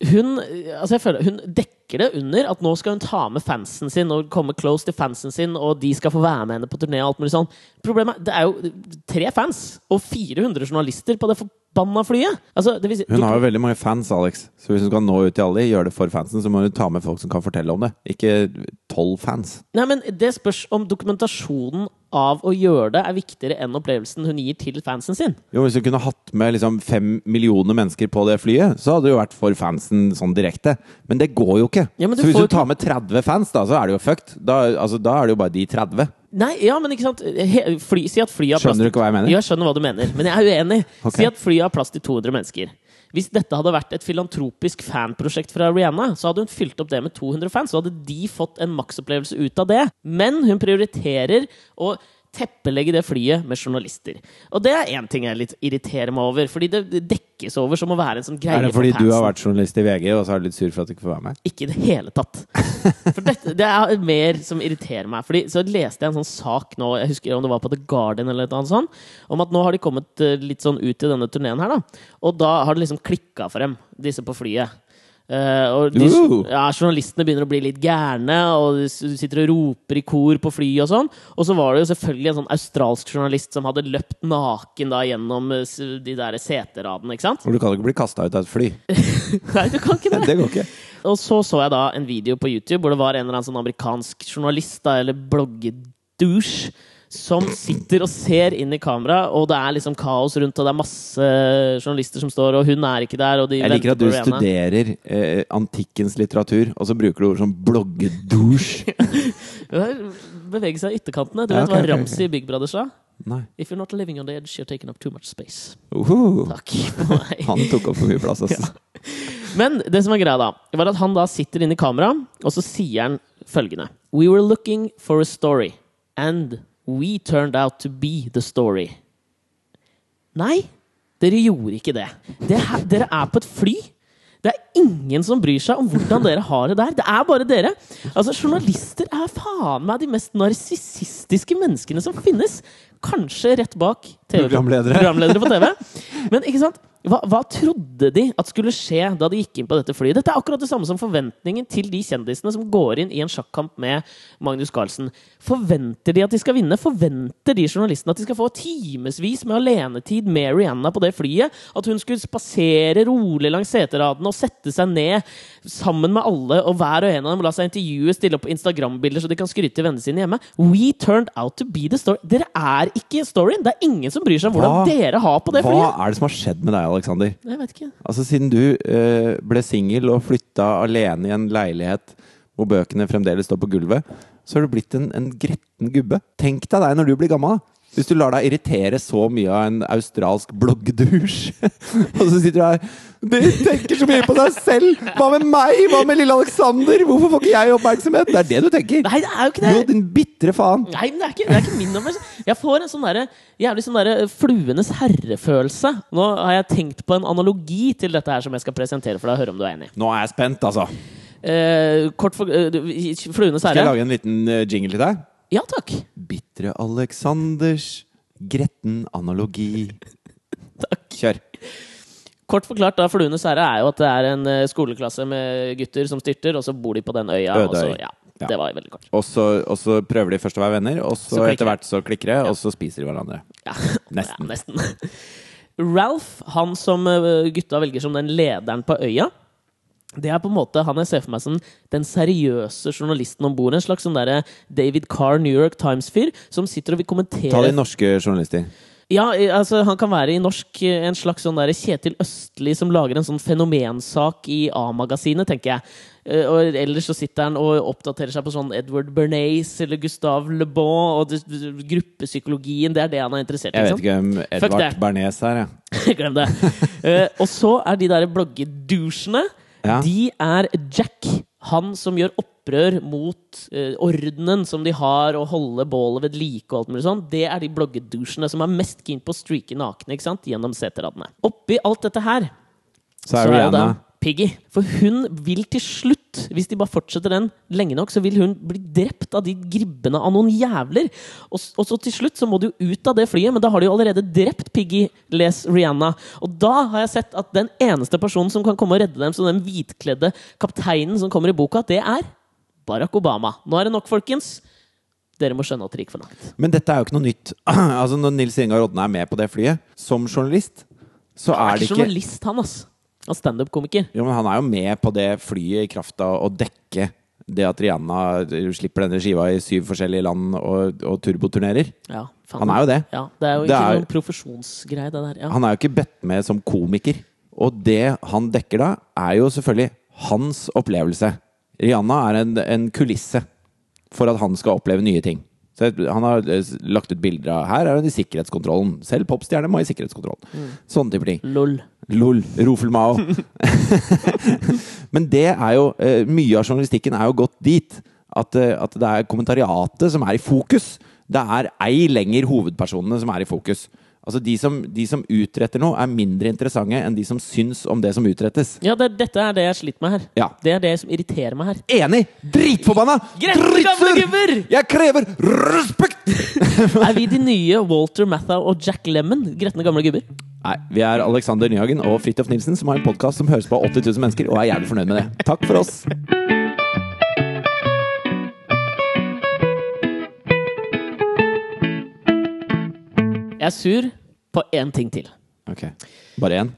Speaker 1: Hun, eh, altså jeg føler, hun dekker det under at nå skal hun ta med fansen sin og komme close til fansen sin, og de skal få være med henne på turné. og alt mulig sånn. Problemet er, Det er jo tre fans og 400 journalister på det forbanna flyet! Altså, det vil si,
Speaker 2: Hun har jo veldig mange fans, Alex. Så hvis hun skal nå ut til alle, gjøre det for fansen, så må hun ta med folk som kan fortelle om det. Ikke tolv fans.
Speaker 1: Nei, men Det spørs om dokumentasjonen av å gjøre det er viktigere enn opplevelsen hun gir til fansen sin.
Speaker 2: Jo, Hvis hun kunne hatt med liksom fem millioner mennesker på det flyet, så hadde det jo vært for fansen sånn direkte. Men det går jo ikke.
Speaker 1: Ja, men du
Speaker 2: så hvis
Speaker 1: får
Speaker 2: du
Speaker 1: jo
Speaker 2: tar med 30 fans, da, så er det jo fucked. Da, altså, da er det jo bare de 30.
Speaker 1: Nei, ja, men ikke sant He, fly, Si at flyet har plass
Speaker 2: Skjønner du ikke hva jeg mener?
Speaker 1: Ja, jeg skjønner hva du mener, men jeg er uenig.
Speaker 2: Ok.
Speaker 1: Si at flyet har plass til 200 mennesker. Hvis dette hadde vært et filantropisk fanprosjekt fra Rihanna, så hadde hun fylt opp det med 200 fans, så hadde de fått en maksopplevelse ut av det. Men hun prioriterer å teppelegge det flyet med journalister. Og det er én ting jeg litt irriterer meg over, fordi det det dekkes over som å være en sånn greie
Speaker 2: Er det
Speaker 1: for
Speaker 2: fordi
Speaker 1: fansen.
Speaker 2: du har vært journalist i VG, og så er du litt sur for at du ikke får være med?
Speaker 1: Ikke i det hele tatt. For dette, Det er mer som irriterer meg. Fordi Så leste jeg en sånn sak nå, jeg husker om det var på The Guardian, eller et annet sånt, om at nå har de kommet eh, litt sånn ut i denne turneen her, da. Og da har det liksom klikka for dem, disse på flyet. Eh, og de,
Speaker 2: Ooh.
Speaker 1: ja, journalistene begynner å bli litt gærne, og de s- sitter og roper i kor på flyet og sånn. Og så var det jo selvfølgelig en sånn australsk journalist som hadde løpt naken da gjennom eh, s- de der seteradene, ikke
Speaker 2: *laughs*
Speaker 1: sant?
Speaker 2: For du kan jo ikke bli kasta ut av et
Speaker 1: *laughs*
Speaker 2: fly.
Speaker 1: Nei, du kan ikke det!
Speaker 2: Det går ikke.
Speaker 1: Og så så jeg da en video på YouTube hvor det var en eller annen sånn amerikansk journalist da, eller bloggedusj som sitter og ser inn i kamera, og det er liksom kaos rundt, og det er masse journalister som står, og hun er ikke der, og de
Speaker 2: Jeg liker at
Speaker 1: venter
Speaker 2: du
Speaker 1: på Rihanna.
Speaker 2: studerer eh, antikkens litteratur, og så bruker du ord som
Speaker 1: *laughs*
Speaker 2: bloggedusj.
Speaker 1: Bevege seg i ytterkantene. Du
Speaker 2: Ja,
Speaker 1: vet
Speaker 2: ok, ok, ok.
Speaker 1: hva Ramsey i Big Brother sa?
Speaker 2: Nei.
Speaker 1: If you're not living on the edge, you're taking up too much space.
Speaker 2: Uhu. *laughs*
Speaker 1: Takk for meg.
Speaker 2: Uhuh. Han tok opp for mye plass, altså.
Speaker 1: Men det som var greia da, var at han da sitter inne i kamera, og så sier han følgende We were looking for a story, and we turned out to be the story. Nei, dere gjorde ikke det. det her, dere er på et fly. Det er ingen som bryr seg om hvordan dere har det der. Det er bare dere. Altså, Journalister er faen meg de mest narsissistiske menneskene som finnes. Kanskje rett bak TV
Speaker 2: Programledere.
Speaker 1: *laughs* programledere på TV. Men ikke sant? Hva, hva trodde de at skulle skje da de gikk inn på dette flyet? Dette er akkurat det samme som forventningen til de kjendisene som går inn i en sjakkamp med Magnus Carlsen. Forventer de at de skal vinne? Forventer de journalistene at de skal få timevis med alenetid med Rihanna på det flyet? At hun skulle spasere rolig langs seteradene og sette seg ned sammen med alle, og hver og en av dem la seg intervjue, stille opp på Instagram-bilder så de kan skryte til vennene sine hjemme? We turned out to be the story. Dere er ikke storyen! Det er ingen som bryr seg om hvordan
Speaker 2: Hva?
Speaker 1: dere har på det
Speaker 2: Hva
Speaker 1: flyet!
Speaker 2: er det som har skjedd med deg, Aleksander?
Speaker 1: Jeg vet ikke.
Speaker 2: Altså, siden du eh, ble singel og flytta alene i en leilighet hvor bøkene fremdeles står på gulvet, så har du blitt en, en gretten gubbe. Tenk deg deg når du blir gammel. da. Hvis du lar deg irritere så mye av en australsk bloggdusj, *laughs* og så sitter du her Dere tenker så mye på deg selv! Hva med meg? Hva med lille Aleksander? Hvorfor får ikke jeg oppmerksomhet? Det er det du tenker!
Speaker 1: Nei, det er jo ikke
Speaker 2: Du
Speaker 1: det!
Speaker 2: og din bitre faen!
Speaker 1: Nei, men det er ikke, det er ikke min oppmerksomhet. Jeg får en sånn derre jævlig sånn derre fluenes herrefølelse. Nå har jeg tenkt på en analogi til dette her som jeg skal presentere for deg. og Høre om du er enig.
Speaker 2: Nå er jeg spent, altså.
Speaker 1: Eh, kort for eh, du- Fluenes
Speaker 2: Skal jeg
Speaker 1: herre.
Speaker 2: lage en liten eh, jingle til deg?
Speaker 1: Ja takk.
Speaker 2: Bitre Alexanders gretten analogi. Kjør.
Speaker 1: Kort forklart, da, Fluenes herre er jo at det er en eh, skoleklasse med gutter som styrter, og så bor de på den øya.
Speaker 2: Øde
Speaker 1: Og så,
Speaker 2: øy.
Speaker 1: ja,
Speaker 2: Ja.
Speaker 1: Det var veldig kort.
Speaker 2: Og så, og så prøver de først å være venner, og så,
Speaker 1: Så klikker
Speaker 2: etter hvert så klikker det, og så spiser de hverandre.
Speaker 1: Ja.
Speaker 2: *laughs* Nesten.
Speaker 1: Ja, nesten. Ralph, han som eh, gutta velger som den lederen på øya, det er på en måte han jeg ser for meg som den seriøse journalisten om bord. En slags sånn derre David Carr, New York Times-fyr, som sitter og vil kommentere
Speaker 2: Ta de norske journalister.
Speaker 1: Ja, i- altså Han kan være i norsk eh, en slags sånn der Kjetil Østli som lager en sånn fenomensak i A-magasinet, tenker jeg. Eh, Og ellers så sitter han og oppdaterer seg på sånn Edward Bernays eller Gustave Le Bon og det, gruppepsykologien. Det er det han er interessert i. ikke
Speaker 2: Jeg vet
Speaker 1: sant?
Speaker 2: ikke hvem Edvard
Speaker 1: det.
Speaker 2: Bernes er. jeg.
Speaker 1: *laughs* Glem det. Eh, og så er de der bloggedusjene.
Speaker 2: Ja.
Speaker 1: De er Jack, han som gjør opprør mot eh, ordenen som de har, og holde bålet ved like og alt mulig sånn. Det er de bloggedusjene som er mest keen på å streake nakne ikke sant? gjennom seteradene. Oppi alt dette her
Speaker 2: Så er
Speaker 1: jo da
Speaker 2: Rihanna
Speaker 1: Piggy. For hun vil til slutt, hvis de bare fortsetter den lenge nok, så vil hun bli drept av de gribbene av noen jævler. Og, s- og så til slutt så må de jo ut av det flyet, men da har de jo allerede drept Piggy, les Rihanna. Og da har jeg sett at den eneste personen som kan komme og redde dem, som den hvitkledde kapteinen som kommer i boka, det er Barack Obama. Nå er det nok, folkens. Dere må skjønne at det gikk for langt.
Speaker 2: Men dette er jo ikke noe nytt. *clears throat* altså Når Nils Ingar Odne er med på det flyet, som journalist, så
Speaker 1: Han
Speaker 2: er
Speaker 1: er
Speaker 2: det
Speaker 1: ikke
Speaker 2: ikke
Speaker 1: journalist, han, ass. Han er standup-komiker.
Speaker 2: Jo, men han er jo med på det flyet i kraft av å dekke det at Rihanna slipper denne skiva i syv forskjellige land og, og turboturnerer.
Speaker 1: Ja, faen.
Speaker 2: Han er jo det.
Speaker 1: Ja, det er jo
Speaker 2: Det
Speaker 1: ikke
Speaker 2: er-
Speaker 1: noen profesjonsgreie, det der. Ja.
Speaker 2: Han er jo ikke bedt med som komiker. Og det han dekker da, er jo selvfølgelig hans opplevelse. Rihanna er en, en kulisse for at han skal oppleve nye ting. Så jeg- han har eh, lagt ut bilder av Her er hun i sikkerhetskontrollen. Selv popstjerne må i sikkerhetskontrollen. Sånne typer ting.
Speaker 1: Lol.
Speaker 2: Lol. Rofel Mao. Men det er jo eh, Mye av journalistikken er jo gått dit. At, eh, at det er kommentariatet som er i fokus. Det er ei lenger hovedpersonene som er i fokus. Altså de som, de som utretter noe, er mindre interessante enn de som syns om det som utrettes.
Speaker 1: Ja, det, dette er det jeg sliter med her.
Speaker 2: Ja.
Speaker 1: Det er det som irriterer meg her.
Speaker 2: Enig! Dritforbanna!
Speaker 1: Greit, gamle gubber!
Speaker 2: Jeg krever respekt!
Speaker 1: Er vi de nye Walter Matthau og Jack Lemmon? Gretne gamle gubber?
Speaker 2: Nei, vi er Alexander Nyhagen og Fridtjof Nilsen, som har en podkast som høres på av 80 000 mennesker, og er jævlig fornøyd med det. Takk for oss.
Speaker 1: Jeg er sur på én ting til.
Speaker 2: Ok, Bare én?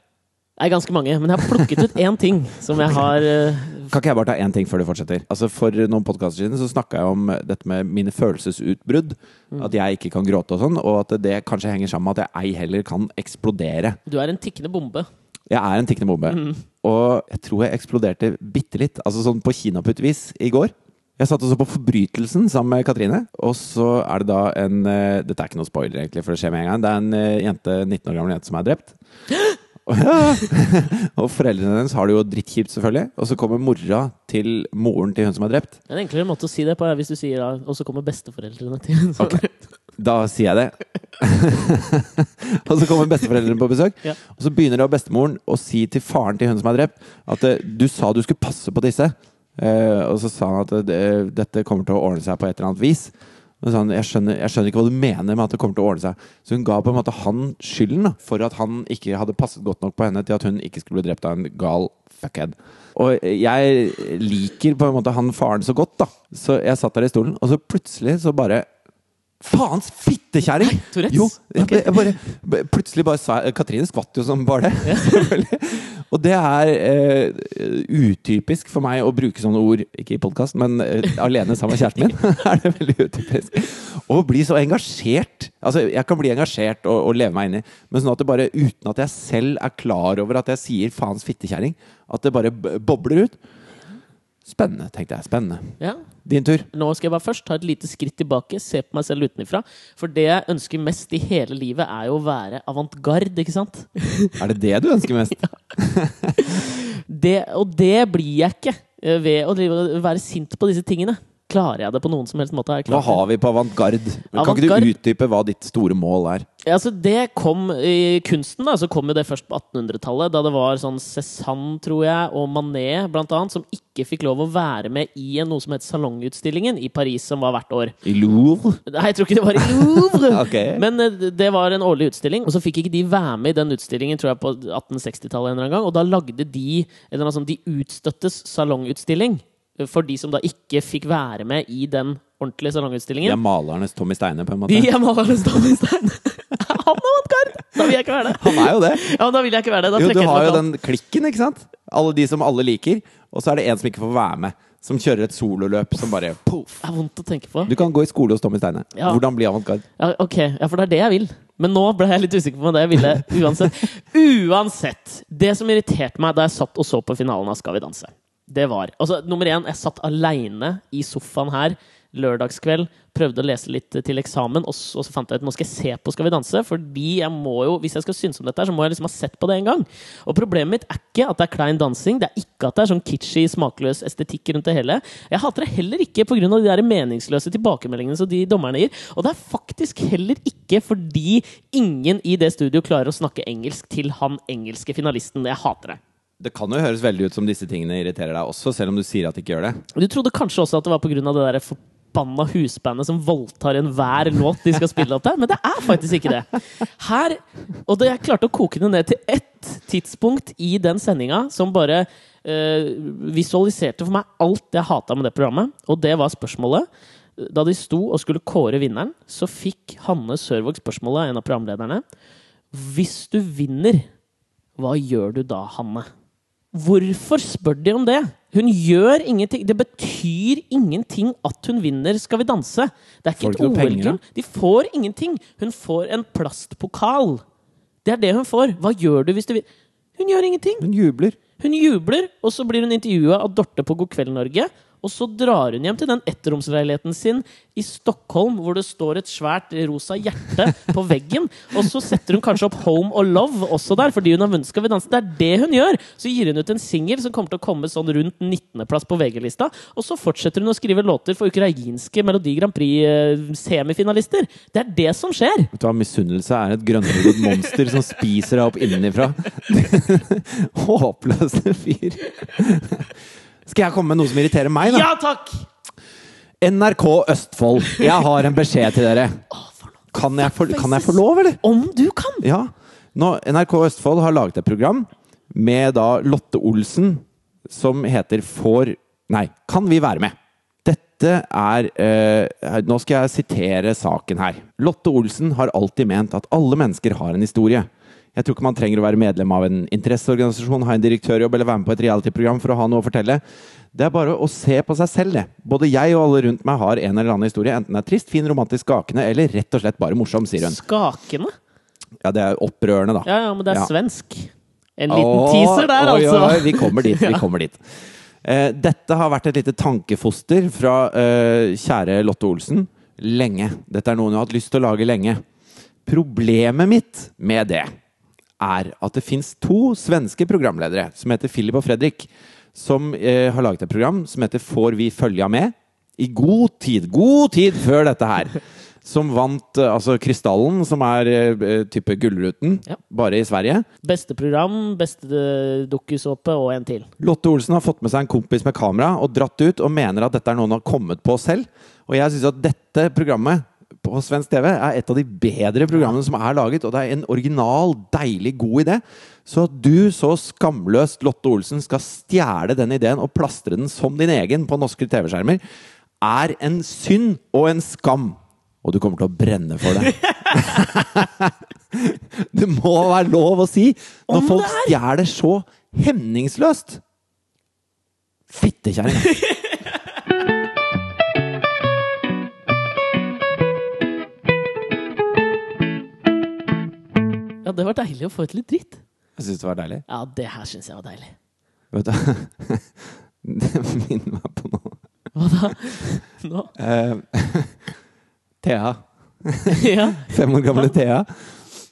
Speaker 1: Det er ganske mange, men jeg har plukket ut én ting som jeg har eh,
Speaker 2: Kan ikke jeg bare ta én ting før du fortsetter? Altså For noen podkaster siden så snakka jeg om dette med mine følelsesutbrudd. At jeg ikke kan gråte og sånn, og at det kanskje henger sammen med at jeg ei heller kan eksplodere.
Speaker 1: Du er en tikkende bombe.
Speaker 2: Jeg er en tikkende bombe. Og jeg tror jeg eksploderte bitte litt, altså sånn på kinaputtvis, i går. Jeg satt også på Forbrytelsen sammen med Katrine. Og så er det da en eh, Dette er ikke noe spoiler, egentlig, for det skjer med en gang. Det er en eh, jente, 19 år gammel jente som er drept. *laughs* og foreldrene hennes har det jo drittkjipt, selvfølgelig. Og så kommer mora til moren til hun som er drept.
Speaker 1: En enklere måte å si det på er hvis du sier da, og så kommer besteforeldrene til. *laughs* Så,
Speaker 2: Da sier jeg det. *laughs* og så kommer besteforeldrene på besøk.
Speaker 1: Ja.
Speaker 2: Og så begynner da bestemoren å si til faren til hun som er drept, at eh, du sa du skulle passe på disse. Eh, og så sa han at eh, dette kommer til å ordne seg på et eller annet vis. Og så sa han, jeg skjønner, jeg skjønner ikke hva du mener med at det kommer til å ordne seg. Så hun ga på en måte han skylden da, for at han ikke hadde passet godt nok på henne til at hun ikke skulle bli drept av en gal fuckhead. Og jeg liker på en måte han faren så godt, da. Så jeg satt der i stolen, og så plutselig så bare Faens fittekjerring!
Speaker 1: Nei, Tourettes.
Speaker 2: Jo, jeg,
Speaker 1: Ok.
Speaker 2: jeg bare, b- plutselig bare sa jeg- Katrine skvatt jo som
Speaker 1: *laughs*
Speaker 2: bare det. selvfølgelig. Og det er eh, utypisk for meg å bruke sånne ord, ikke i podkast, men eh, alene sammen med kjæresten min. *laughs* er det veldig utypisk. Å bli så engasjert. Altså, jeg kan bli engasjert og, og leve meg inn i, men sånn at det bare, uten at jeg selv er klar over at jeg sier faens fittekjerring, at det bare b- bobler ut. Spennende, tenkte jeg. Spennende.
Speaker 1: ja.
Speaker 2: Din tur.
Speaker 1: Nå skal jeg bare først ta et lite skritt tilbake, se på meg selv utenfra. For det jeg ønsker mest i hele livet, er jo å være avantgarde, ikke sant?
Speaker 2: Er det det du ønsker mest?
Speaker 1: Det, og det blir jeg ikke eh, ved å drive, og være sint på disse tingene. Klarer jeg det på noen som helst måte? Er jeg klar
Speaker 2: Hva
Speaker 1: til-
Speaker 2: har vi på avantgarde? Men Kan ikke du
Speaker 1: Avantgarde?
Speaker 2: utdype hva ditt store mål er?
Speaker 1: Ja, altså det kom i kunsten, da, så kom jo det først på 1800-tallet, da det var sånn Cézanne, tror jeg, og Manet, blant annet, som ikke fikk lov å være med i en- noe som het Salongutstillingen i Paris, som var hvert år.
Speaker 2: I Louvre?
Speaker 1: Nei, jeg tror ikke det var i Louvre!
Speaker 2: *laughs* Ok.
Speaker 1: Men eh, det var en årlig utstilling, og så fikk ikke de være med i den utstillingen, tror jeg, på 1860-tallet en eller annen gang, og da lagde de en eller annen sånn De utstøttes salongutstilling, eh, for de som da ikke fikk være med i den ordentlige salongutstillingen.
Speaker 2: De er malernes Tommy Steine, på
Speaker 1: *laughs*
Speaker 2: en måte.
Speaker 1: De er malerne Stanley Stein. *laughs* Han er avantgarde! Da vil jeg ikke være det.
Speaker 2: Han er jo det!
Speaker 1: Ja, men da vil jeg ikke være det. Da
Speaker 2: Jo, du
Speaker 1: trekker jeg
Speaker 2: har jo
Speaker 1: tilbake alt.
Speaker 2: den klikken, ikke sant? Alle de som alle liker. Og så er det en som ikke får være med. Som kjører et sololøp som bare poff.
Speaker 1: Det er vondt å tenke på.
Speaker 2: Du kan gå i skole hos Tommy Steine.
Speaker 1: Ja.
Speaker 2: Hvordan bli avantgarde?
Speaker 1: Ja, ok, ja, for det er det jeg vil. Men nå ble jeg litt usikker på det jeg ville. Uansett. Uansett! Det som irriterte meg da jeg satt og så på finalen av Skal vi danse, det var altså, Nummer én, jeg satt aleine i sofaen her lørdagskveld, prøvde å lese litt til eksamen, og så, og så fant jeg ut nå skal jeg se på Skal vi danse, fordi jeg må jo, hvis jeg skal synes om dette, her, så må jeg liksom ha sett på det en gang. Og problemet mitt er ikke at det er klein dansing, det er ikke at det er sånn kitschy, smakløs estetikk rundt det hele. Jeg hater det heller ikke pga. de der meningsløse tilbakemeldingene som de dommerne gir. Og det er faktisk heller ikke fordi ingen i det studio klarer å snakke engelsk til han engelske finalisten. Jeg hater det.
Speaker 2: Det kan jo høres veldig ut som disse tingene irriterer deg også, selv om du sier at de ikke gjør det.
Speaker 1: Du trodde kanskje også at det var pga. det der forbanna husbandet som voldtar enhver låt de skal spille opp der, men det er faktisk ikke det. Her, Og det jeg klarte å koke det ned til ett tidspunkt i den sendinga som bare eh, visualiserte for meg alt jeg hata med det programmet, og det var spørsmålet. Da de sto og skulle kåre vinneren, så fikk Hanne Sørvåg spørsmålet av en av programlederne. Hvis du vinner, hva gjør du da, Hanne? Hvorfor spør de om det? Hun gjør ingenting. Det betyr ingenting at hun vinner Skal vi danse. Det er ikke
Speaker 2: Får
Speaker 1: et
Speaker 2: de ikke noe penger,
Speaker 1: OL-gull. De får ingenting. Hun får en plastpokal. Det er det hun får. Hva gjør du hvis du vinner? Hun gjør ingenting.
Speaker 2: Hun jubler.
Speaker 1: Hun jubler, og så blir hun intervjua av Dorte på God kveld, Norge. Og så drar hun hjem til den ettromsleiligheten sin i Stockholm, hvor det står et svært rosa hjerte på veggen. Og så setter hun kanskje opp Home og Love også der, fordi hun har vunnet Skal vi danse. Det er det hun gjør! Så gir hun ut en singel som kommer til å komme sånn rundt 19.-plass på VG-lista. Og så fortsetter hun å skrive låter for ukrainske Melodi Grand Prix-semifinalister. Det er det som skjer!
Speaker 2: Vet du hva, Misunnelse er et grønnrødt monster som spiser deg opp innenfra. *laughs* Håpløse fyr. Skal jeg komme med noe som irriterer meg, da?
Speaker 1: Ja takk!
Speaker 2: NRK Østfold, jeg har en beskjed til dere. Kan jeg få, kan jeg få lov, eller?
Speaker 1: Om du kan!
Speaker 2: Ja. Nå, NRK Østfold har laget et program med da Lotte Olsen som heter Får Nei, Kan vi være med? Dette er eh, Nå skal jeg sitere saken her. Lotte Olsen har alltid ment at alle mennesker har en historie. Jeg tror ikke man trenger å være medlem av en interesseorganisasjon, ha en direktørjobb eller være med på et realityprogram for å ha noe å fortelle. Det er bare å se på seg selv, det. Både jeg og alle rundt meg har en eller annen historie, enten den er trist, fin, romantisk, skakende eller rett og slett bare morsom, sier hun.
Speaker 1: Skakende.
Speaker 2: Ja, det er opprørende, da.
Speaker 1: Ja, ja, men det er
Speaker 2: Ja.
Speaker 1: svensk. En liten
Speaker 2: Åh,
Speaker 1: teaser der,
Speaker 2: oi,
Speaker 1: altså.
Speaker 2: Oi, oi, vi kommer
Speaker 1: *laughs*
Speaker 2: dit. Vi kommer dit. Eh, dette har vært et lite tankefoster fra eh, kjære Lotte Olsen lenge. Dette er noe hun har hatt lyst til å lage lenge. Problemet mitt med det er at det fins to svenske programledere som heter Philip og Fredrik, som eh, har laget et program som heter Får vi følja med? I god tid, god tid før dette her. Som vant eh, altså Krystallen, som er eh, type Gullruten,
Speaker 1: Ja.
Speaker 2: bare i Sverige.
Speaker 1: Beste program, beste eh, dokusåpe og en til.
Speaker 2: Lotte Olsen har fått med seg en kompis med kamera og dratt ut og mener at dette er noe hun har kommet på selv. Og jeg syns at dette programmet på svensk TV er et av de bedre programmene som er laget, og det er en original, deilig, god idé. Så at du så skamløst, Lotte Olsen, skal stjele den ideen og plastre den som din egen på norske TV-skjermer, er en synd og en skam. Og du kommer til å brenne for
Speaker 1: *laughs*
Speaker 2: det. *laughs* det må være lov å si når
Speaker 1: Om
Speaker 2: folk
Speaker 1: det er-
Speaker 2: stjeler så hemningsløst.
Speaker 1: *laughs*
Speaker 2: Fittekjerring!
Speaker 1: Ja, det var deilig å få ut litt dritt.
Speaker 2: Jeg syns det var deilig.
Speaker 1: Ja, det her syns jeg var deilig. *laughs*
Speaker 2: Vet *laughs* du, det minner meg på noe.
Speaker 1: *laughs* Nå.
Speaker 2: Eh, Thea.
Speaker 1: Ja,
Speaker 2: Fem år gamle Thea.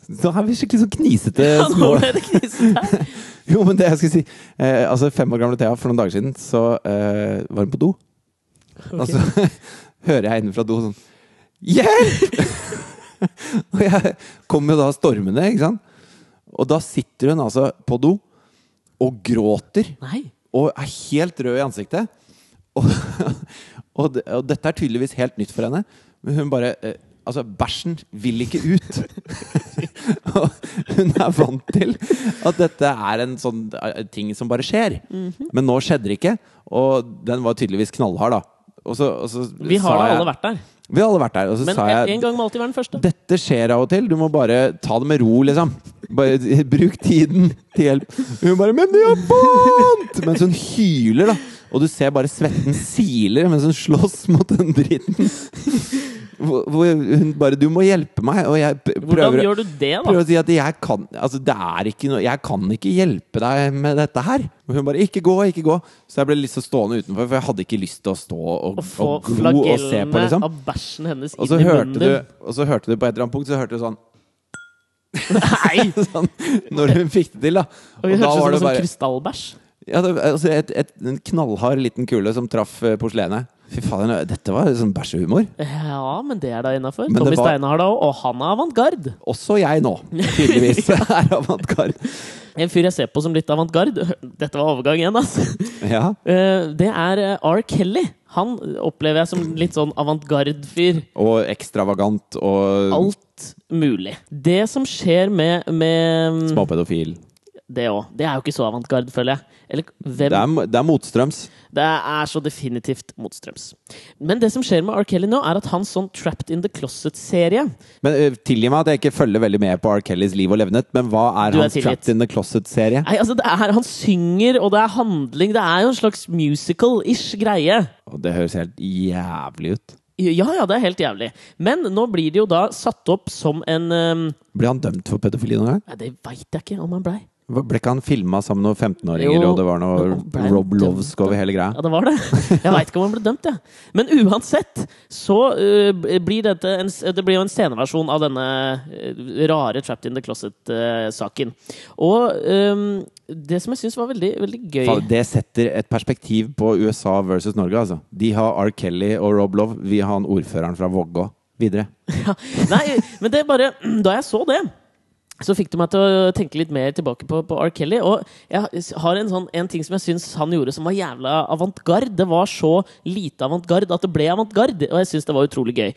Speaker 2: Nå er vi skikkelig så knisete
Speaker 1: ja nå
Speaker 2: små
Speaker 1: ble det knisete her.
Speaker 2: Jo, men det jeg skulle si eh, *laughs* Altså, *laughs* fem år gamle Thea, for noen dager siden, så eh, var hun på do. Og så hører jeg innenfra do sånn Hjelp! *laughs* og jeg kommer jo da stormende, ikke sant? Og da sitter hun altså på do og gråter
Speaker 1: Nei.
Speaker 2: og er helt rød i ansiktet. Og, *laughs* og, det- og dette er tydeligvis helt nytt for henne. Men hun bare eh, Altså, bæsjen vil ikke ut. *laughs* Og hun er vant til at dette er en sånn eh, ting som bare skjer.
Speaker 1: Mhm.
Speaker 2: Men nå skjedde det ikke, og den var tydeligvis knallhard, da. Og så, og så
Speaker 1: Vi har
Speaker 2: sa
Speaker 1: da
Speaker 2: jeg-
Speaker 1: alle vært der.
Speaker 2: Vi har alle vært der. Og så
Speaker 1: Men
Speaker 2: sa
Speaker 1: en,
Speaker 2: jeg
Speaker 1: en gang må alltid være den første.
Speaker 2: dette skjer av og til. Du må bare ta det med ro, liksom. Bare *laughs* Bruk tiden til hjelp. Hun bare 'Men det gjør vondt!' Mens hun hyler, da. Og du ser bare svetten siler mens hun slåss mot den dritten. Hvor hvor hun bare 'Du må hjelpe meg', og jeg p-
Speaker 1: Hvordan
Speaker 2: prøver,
Speaker 1: gjør du det, da?
Speaker 2: prøver å si at jeg kan Altså, det er ikke noe Jeg kan ikke hjelpe deg med dette her. Og hun bare 'Ikke gå, ikke gå'. Så jeg ble liksom stående utenfor, for jeg hadde ikke lyst til å stå og,
Speaker 1: Å få
Speaker 2: og glo og se på,
Speaker 1: flagellene
Speaker 2: liksom.
Speaker 1: av bæsjen hennes
Speaker 2: Og
Speaker 1: inn
Speaker 2: så,
Speaker 1: i
Speaker 2: hørte
Speaker 1: munnen
Speaker 2: du,
Speaker 1: din.
Speaker 2: og så hørte du på et eller annet punkt Så hørte du sånn
Speaker 1: Nei!
Speaker 2: *laughs* sånn, når hun fikk det til, da.
Speaker 1: Og vi hørte sånn som krystallbæsj.
Speaker 2: ja, det, altså et, et, En knallhard liten kule som traff eh, porselenet. Fy faen, dette var sånn bæsjehumor.
Speaker 1: Ja, men det er da innafor.
Speaker 2: Men det
Speaker 1: Tommy
Speaker 2: var-
Speaker 1: Steine har det òg, og han er avantgarde.
Speaker 2: Også jeg nå,
Speaker 1: *laughs*
Speaker 2: tydeligvis. *laughs* er avantgarde.
Speaker 1: En fyr jeg ser på som litt avantgarde *laughs* Dette var overgang igjen, altså.
Speaker 2: Ja.
Speaker 1: *laughs* Eh, Det er eh, R. Kelly. Han opplever jeg som litt sånn avantgarde-fyr.
Speaker 2: Og ekstravagant og
Speaker 1: Alt mulig. Det som skjer med, med mm,
Speaker 2: småpedofil.
Speaker 1: det òg, det er jo ikke så avantgarde, føler jeg. Eller
Speaker 2: Det
Speaker 1: hvem
Speaker 2: er, det er motstrøms.
Speaker 1: Det er så definitivt motstrøms. Men det som skjer med R. Kelly nå, er at hans sånn Trapped in the Closet-serie
Speaker 2: Men eh, Tilgi meg at jeg ikke følger veldig med på R. Kellys liv og levnet, men hva er
Speaker 1: Du er
Speaker 2: hans
Speaker 1: tilgitt.
Speaker 2: Trapped in the Closet-serie?
Speaker 1: Nei, altså, det er Han synger, og det er handling. Det er jo en slags musical-ish greie.
Speaker 2: Og Det høres helt jævlig ut.
Speaker 1: Ja, ja, det er helt jævlig. Men nå blir det jo da satt opp som en ehm,
Speaker 2: Ble han dømt for pedofili noen gang?
Speaker 1: Nei, det veit jeg ikke om han blei.
Speaker 2: Hva- Ble ikke han filma sammen med noen 15-åringer,
Speaker 1: Jo,
Speaker 2: og det var
Speaker 1: men han ble
Speaker 2: noe Rob
Speaker 1: dømt,
Speaker 2: Lovsk over hele greia?
Speaker 1: Ja, det var det. Jeg veit ikke om han ble dømt, jeg. Men uansett så eh, blir dette en, det blir jo en sceneversjon av denne eh, rare Trapped in the Closet-saken. Og ehm, det som jeg syns var veldig, veldig gøy
Speaker 2: Faen, Det setter et perspektiv på USA versus Norge, altså. De har R. Kelly og Rob Love, vi har han ordføreren fra Vågå. Videre.
Speaker 1: Ja. Nei, men det er bare Da jeg så det så fikk det meg til å tenke litt mer tilbake på, på R. Kelly. Og jeg har en, sånn, en ting som jeg syns han gjorde som var jævla avantgarde. Det var så lite avantgarde at det ble avantgarde, og jeg syns det var utrolig gøy.